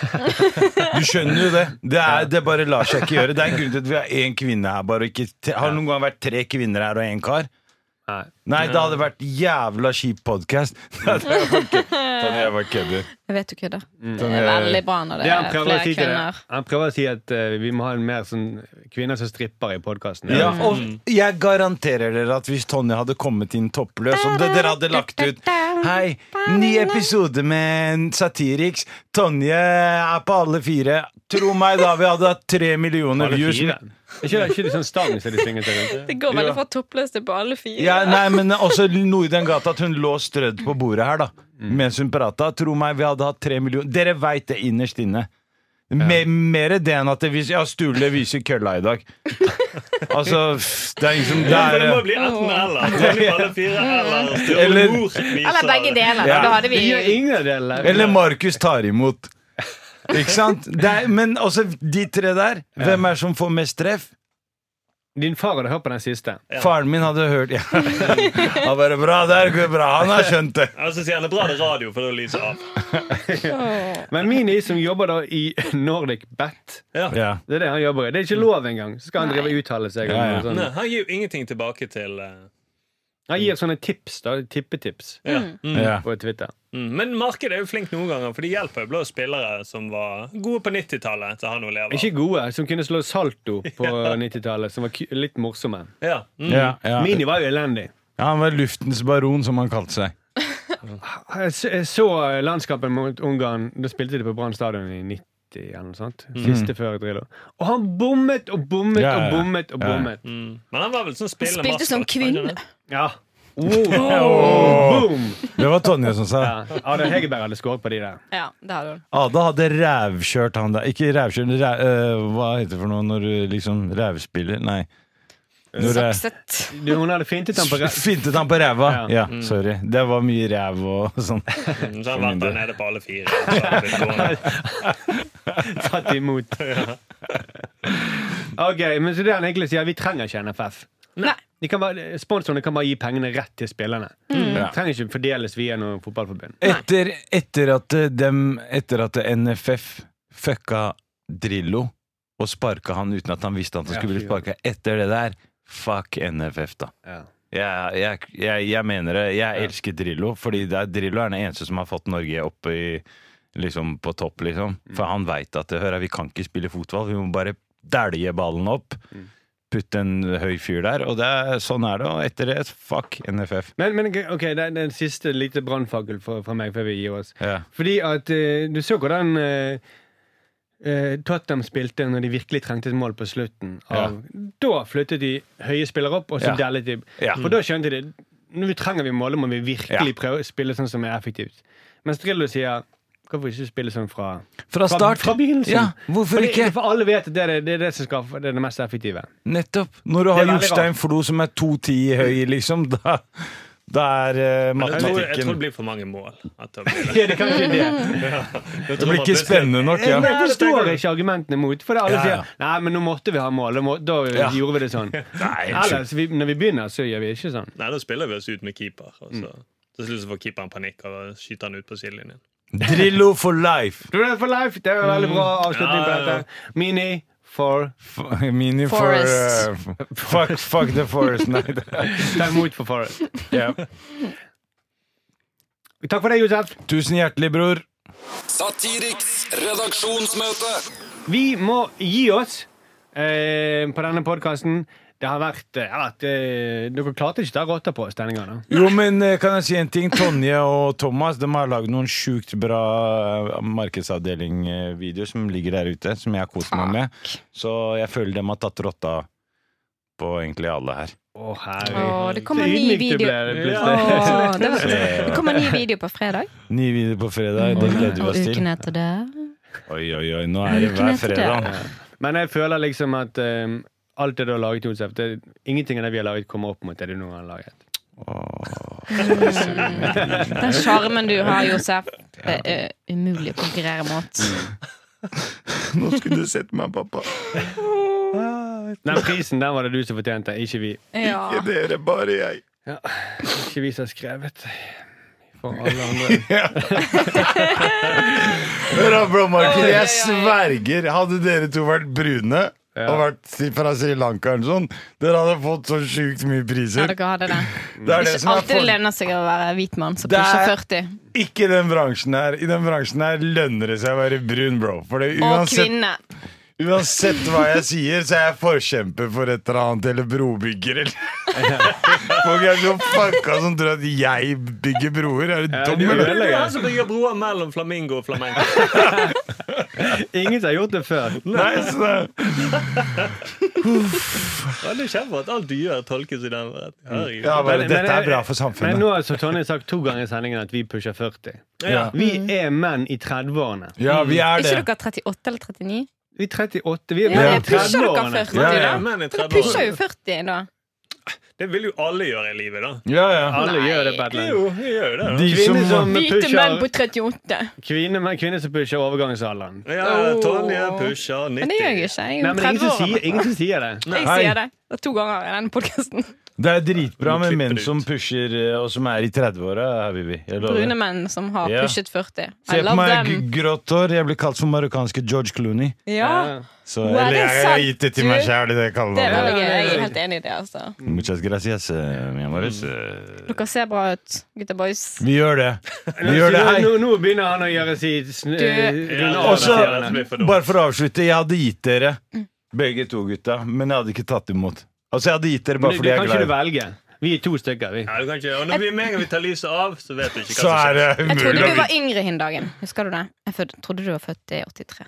S5: Du skjønner jo det. Det, er, det bare lar seg ikke gjøre. Det er en grunn til at vi har én kvinne her. Bare og ikke tre, har det noen gang vært tre kvinner her og én kar?
S2: Nei.
S5: Nei, det hadde vært jævla kjip podkast. Tonje, jeg bare kødder.
S6: Jeg vet du kødder. Det er veldig bra når det,
S2: Det han
S6: er
S2: prøver å
S6: flere
S2: si til
S6: kvinner.
S2: deg Han prøver å si at eh, vi må ha en mer sånn kvinner som stripper i podkasten.
S5: Ja, og jeg garanterer dere at hvis Tonje hadde kommet inn toppløs, om det- dere hadde lagt ut Hei, ny episode med en Satiriks. Tonje er på alle fire. Tro meg, da vi hadde hatt tre millioner
S2: Alle
S5: views.
S2: fire. Er ikke, er ikke det sånn stang som de synger seg rundt?
S6: Det går veldig
S5: Ja.
S6: fra toppløs til på alle fire.
S5: Ja, nei, men også noe i den gata at hun lå strødd på bordet her, da.
S4: Mm.
S5: Mens hun prata. Tro meg, vi hadde hatt tre millioner Dere veit det innerst inne. Me- Mer det enn at det vis, ja, Sturle viser kølla i dag. Altså, pff, det er liksom det
S4: Ja, for det må
S5: er,
S4: bli enten eller. Det må bli alle fire eller Sturle
S5: Eller-
S4: Mor viser-
S6: Eller begge deler.
S5: Ja.
S6: Da hadde vi
S2: Vi gjør ingen av delene.
S5: Eller Markus tar imot. Ikke sant? Det er, men også de tre der. Hvem er det som får mest treff?
S2: Din far hadde hørt på den siste.
S5: Faren min hadde hørt ja. Han bare 'Bra, der går bra'. Han har skjønt det.
S4: Ja, så sier han det er bra det er radio, for da lyser av.
S6: Åh.
S2: Men Mini, som jobber da i Nordic Bet
S5: Ja.
S2: Det er det han jobber i. Det er ikke lov engang. Så skal han drive og uttale seg. om
S5: Mm. Ja, ja.
S2: noe sånt.
S4: Nei, han gir jo ingenting tilbake til eh,
S2: Jeg gir sånne tips, da. Tippetips
S4: Ja. Mm.
S5: Ja.
S2: på Twitter.
S4: Mm. Men markedet er jo flink noen ganger, for de hjelper jo blå spillere som var gode på 90-tallet. til å ha noe å leve av.
S2: Ikke gode, som kunne slå salto på 90-tallet, som var ku- litt morsomme.
S4: Ja. Mm.
S5: Ja, ja.
S2: Mini var jo elendig.
S5: Ja, han var luftens baron, som han kalte seg.
S2: Jeg så- jeg så landskampen mot Ungarn. Da spilte de på Brann stadion i 90. Eller noe sånt. Siste før Drillo. Og han bommet og bommet
S5: Mm. Ja, ja, ja.
S2: og bommet og
S5: Ja, ja.
S2: bommet.
S4: Mm. Men han var vel sånn spillende
S6: Spilte som
S4: maskot, var han ikke
S6: kvinne.
S4: det?
S2: Ja. Wow. Boom!
S5: Det var Tonje som sa.
S2: Ja. Ada Hegerberg hadde skåret på de der.
S6: Ja, det hadde hun.
S5: Ada hadde rævkjørt han der. Ikke rævkjørt, ræ, øh, hva heter det for noe når du liksom rævspiller? Nei. Når det-
S6: Sakset.
S2: Du, hun hadde fintet ham på
S5: S-
S2: rett
S5: Fintet han på ræva?
S2: Ja. Mm.
S5: Ja, sorry. Det var mye ræv og sånn.
S4: Mm, Så han vært der nede på alle fire. og så har han blitt gående.
S2: tatt imot. Ok, men så det han egentlig sier, vi trenger ikke NFF.
S6: Nei.
S2: De kan bare, sponsorene kan bare gi pengene rett til spillerne.
S5: Ja.
S2: Trenger ikke fordeles via noe fotballforbund.
S5: Etter, etter at eh, dem Etter at NFF fucka Drillo og sparka han uten at han visste at han
S2: Ja,
S5: skulle bli
S2: fy
S5: sparka, etter det der Fuck NFF, da.
S2: Ja.
S5: Jeg, jeg, jeg, jeg mener det. Jeg elsker Drillo, fordi det er, Drillo er den eneste som har fått Norge opp i, liksom, på topp, liksom. For han veit at hør, her, vi kan ikke spille fotball, vi må bare dælje ballen opp. Putte en høy fyr der, og det er, sånn er det. Og etter det, fuck NFF.
S2: Men, men ok, det er den siste lite brannfakkel fra, fra meg før vi gir oss.
S5: Ja.
S2: Fordi at eh, du så hvordan eh, eh, Tottenham spilte når de virkelig trengte et mål på slutten. Av, Da flyttet de høye spillere opp, og så
S5: Ja.
S2: dellet de.
S5: Ja.
S2: For da skjønte de nå trenger vi mål, må vi virkelig prøve å spille sånn som er effektivt. Mens Drillo sier Hvorfor ikke spille sånn fra
S5: Fra
S2: Fra,
S5: start!
S2: fra begynnelsen.
S5: Ja, hvorfor
S2: Fordi-
S5: ikke?
S2: For alle vet at det er det, det, er det som skal, det, er det mest effektive.
S5: Nettopp! Når du
S2: Det er
S5: har
S2: veldig
S5: Jostein Flo som er 2,10 høy, liksom, da, da er eh,
S4: Men Jeg tror, jeg tror det
S5: matematikken
S4: blir for mange mål. At det, blir det.
S2: Ja, det kan ikke det.
S5: Det blir ikke spennende nok, ja.
S2: Men jeg forstår ikke argumentene mot. For det er alle
S5: Ja, ja.
S2: sier Nei, men nå måtte vi ha mål. Da må- Da
S5: Ja.
S2: gjorde vi det sånn.
S5: Nei, unnskyld.
S2: Ellers, vi, når vi begynner, så gjør vi ikke sånn.
S4: Nei, da spiller vi oss ut med keeper. Og så. Til slutt så får keeperen panikk og skyter han ut på sidelinjen.
S5: Drillo for life!
S2: Du er for life! Det var veldig bra avslutning på
S4: Ja, ja, Mm. ja.
S2: dette. Mini for
S5: F- Mini for
S6: Forest.
S5: eh, f- fuck, fuck the forest. Nei, det-
S2: Ta imot for Forest.
S5: ja.
S2: Takk for det, Josef.
S5: Tusen hjertelig, bror.
S3: Satiriks redaksjonsmøte.
S2: Vi må gi oss eh, på denne podkasten. Det har vært, eh, at, eh, Dere klarte ikke å ta rotta på oss denne gangen.
S5: Jo, men eh, kan jeg si en ting? Tonje og Thomas de har lagd noen sjukt bra eh, markedsavdeling-videoer som ligger der ute, som jeg har kost meg med. Så jeg føler de har tatt rotta på egentlig alle her.
S2: Å,
S6: Å,
S2: herregud.
S6: det kommer ny video. Å, det, var, det kommer ny video på fredag.
S5: Ny video på fredag. Det gleder vi
S6: Mm. Og
S5: oss til.
S6: uken etter det.
S5: Oi, oi, oi. Nå er det
S6: Uken
S5: hver
S6: etter det.
S5: fredag.
S2: Men jeg føler liksom at eh, alt det du har laget, Josef det, Ingenting av det vi har laget, kommer opp mot det du noen gang har laget.
S6: Den sjarmen du har, Josef, det er umulig å konkurrere mot.
S5: Nå skulle du sett meg, pappa.
S2: Den prisen den var det du som fortjente, ikke vi.
S6: Ja.
S5: Dere, bare jeg.
S2: Ikke vi som har skrevet. For alle andre.
S5: Hør da, bro, Markus.
S6: Oi, oi, oi.
S5: Jeg sverger. Hadde dere to vært brune og vært si- fra Sri Lanka eller sånn, dere hadde fått så sjukt mye
S6: Ja,
S5: priser.
S6: dere hadde det.
S5: Det er det
S6: Ikke
S5: som er
S6: alltid det
S5: for...
S6: lønner seg å være hvit mann som
S5: Det er-
S6: pusher 40.
S5: Ikke den bransjen her. I den bransjen her lønner det seg å være brun, bro. For det,
S6: Og
S5: uansett,
S6: kvinne.
S5: uansett hva jeg sier, så er jeg forkjemper for et eller annet, eller brobygger, eller Folk er så fucka som tror at jeg bygger broer. Er du
S2: Ja,
S5: dum,
S2: du
S5: eller?
S2: er
S4: Det er han som bygger broer mellom flamingo og flamenco.
S2: Ingen som har gjort det før.
S5: Nei, så det...
S4: Ja, det er kjempebra at alt du gjør, tolkes i den retningen. Herregud.
S5: Mm. Ja, bare,
S2: Men- men-
S5: dette er bra for
S2: Men
S5: samfunnet.
S2: nå har så Tonje sagt to ganger i sendingen at vi pusher 40.
S4: Ja.
S2: Vi
S5: Mm.
S2: er menn i 30-årene.
S5: Ja, vi er det.
S6: Ikke dere 38 eller 39?
S2: Vi er 38. Vi er
S6: Ja,
S2: menn i
S6: jeg pusher dere
S2: 30-årene.
S5: Ja,
S6: 40,
S5: ja.
S6: da.
S4: Ja, men i
S6: Men du
S4: 30
S6: pusher jo
S4: år.
S6: 40, da.
S4: Det vil jo alle gjøre i livet, da.
S5: Ja, ja.
S2: Alle
S6: Nei.
S2: gjør det på et eller annet.
S4: Jo, vi gjør jo det. da.
S5: De
S2: Kvinner som
S6: Hvite menn på
S2: pusher
S6: 38.
S2: Kvinner men kvinner som pusher overgangsalderen.
S4: Ja, Tonje pusher 90.
S6: Men det gjør jeg ikke. Jeg
S2: Nei,
S6: er
S2: men ingen som
S6: 30 år.
S2: sier, ingen som sier det.
S6: Jeg
S5: Hei.
S6: sier det. Det er to ganger i denne podkasten.
S5: Det er dritbra
S4: Vi
S5: med
S4: klipper
S5: menn
S4: det ut.
S5: som pusher eh, og som er i 30-åra, Habibi. Jeg lover.
S6: Brune menn som har
S5: Ja.
S6: pushet 40. I
S5: Se på
S6: love
S5: meg,
S6: them.
S5: g- grått hår. Jeg blir kalt for marokkanske George Clooney.
S6: Ja,
S5: Så,
S6: Hva er
S5: eller
S6: det
S5: jeg, jeg har
S6: sant,
S5: gitt det til
S6: du?
S5: meg sjæl, det kaller
S6: det
S5: man det.
S6: er veldig gøy. Jeg er helt enig i det. altså
S5: Muchas gracias, eh, mi amores. Eh,
S6: Dere ser bra ut, gutta boys.
S5: Vi gjør det. Vi gjør det,
S2: Nå,
S5: hei.
S2: nå, nå begynner han å gjøre sitt sn-
S6: Du-
S2: eh, runde av
S5: Også-
S2: dette her.
S5: Bare for å avslutte, jeg hadde gitt dere begge to gutta, men jeg hadde ikke tatt imot. Altså, jeg hadde gitt dere
S2: Men
S5: bare
S2: du, du
S5: fordi jeg
S2: kan
S5: er
S2: ikke du
S5: glad. i-
S2: velge. Vi er to stykker, vi.
S4: Ja, du kan ikke, og når vi, med en gang vi tar lyset av, så vet du ikke
S5: Så
S4: hva som skjer.
S5: er det
S6: Jeg trodde du
S5: umulig.
S6: var yngre hin dagen. Husker du det? Jeg fød- trodde du var født i 83.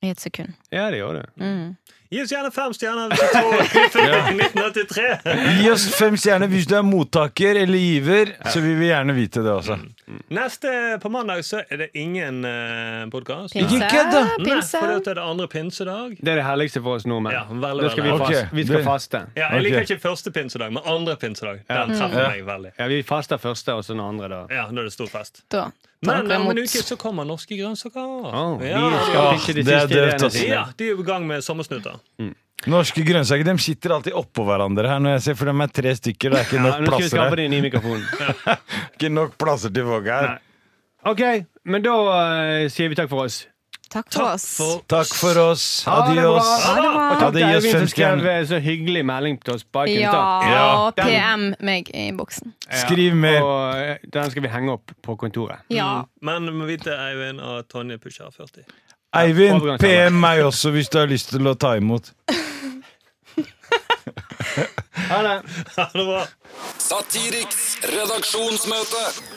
S6: I et sekund.
S2: Ja, det gjør det.
S6: Mm.
S4: Gi oss gjerne fem stjerner hvis du tror vi er født i 1983.
S5: Gi oss fem stjerner hvis du er mottaker eller giver, så vi vil gjerne vite det også.
S2: Mm.
S4: Neste på mandag så er det ingen uh, podkast.
S6: Pinse.
S5: Ikke kødd, da.
S6: Pinse.
S4: For det er det andre pinsedag.
S2: Det er det helligste for oss nordmenn.
S4: Ja, veldig,
S2: da skal vi,
S4: veldig.
S5: Ok,
S2: fast, vi skal
S5: det-
S2: faste.
S4: Ja, jeg liker
S5: Ok.
S4: ikke første pinsedag, men andre pinsedag. Den
S5: Ja.
S4: treffer meg veldig.
S2: Ja, Vi faster første, og så den andre, da.
S4: Ja, da er det stor fest.
S6: Da tar
S4: Men
S6: dere
S4: om en uke
S6: imot.
S4: så kommer norske grønnsaker.
S2: Oh,
S4: ja,
S2: de skal
S4: ja.
S2: pitche
S5: det
S2: de
S5: er
S2: siste
S5: døvt,
S2: ideene
S5: ass.
S2: sine.
S4: ja, de er jo i gang med sommersnutter.
S5: Norske grønnsaker de sitter alltid oppå hverandre her, når jeg ser, for de er tre stykker. Det er ikke
S2: Ja, nå
S5: nok
S2: skal vi
S5: plasser
S2: skaffe
S5: her.
S2: dem en ny mikrofon.
S5: Ikke nok plasser til folk her.
S2: Nei. OK, men da eh, sier vi takk for oss.
S6: Takk for oss.
S5: Takk for oss.
S2: Ha det bra.
S5: Adios.
S6: Ha det
S2: Og
S6: bra.
S5: Ja,
S2: takk
S5: det
S2: til
S5: gir oss
S2: Eivind
S5: fem
S2: som skrev
S5: stjerner.
S2: eh, så hyggelig melding til oss bak
S6: Ja,
S2: Insta.
S5: Ja, Mm.
S6: og PM meg i boksen.
S5: Skriv mer.
S2: Og eh, den skal vi henge opp på kontoret.
S6: Ja.
S4: Men du må vite, Eivind, at Tonje pusher 40.
S5: Eivind,
S2: Overgangsarbeid.
S5: PM meg også hvis du har lyst til å ta imot.
S2: Ha det.
S4: Ha det bra.
S3: Satiriks redaksjonsmøte.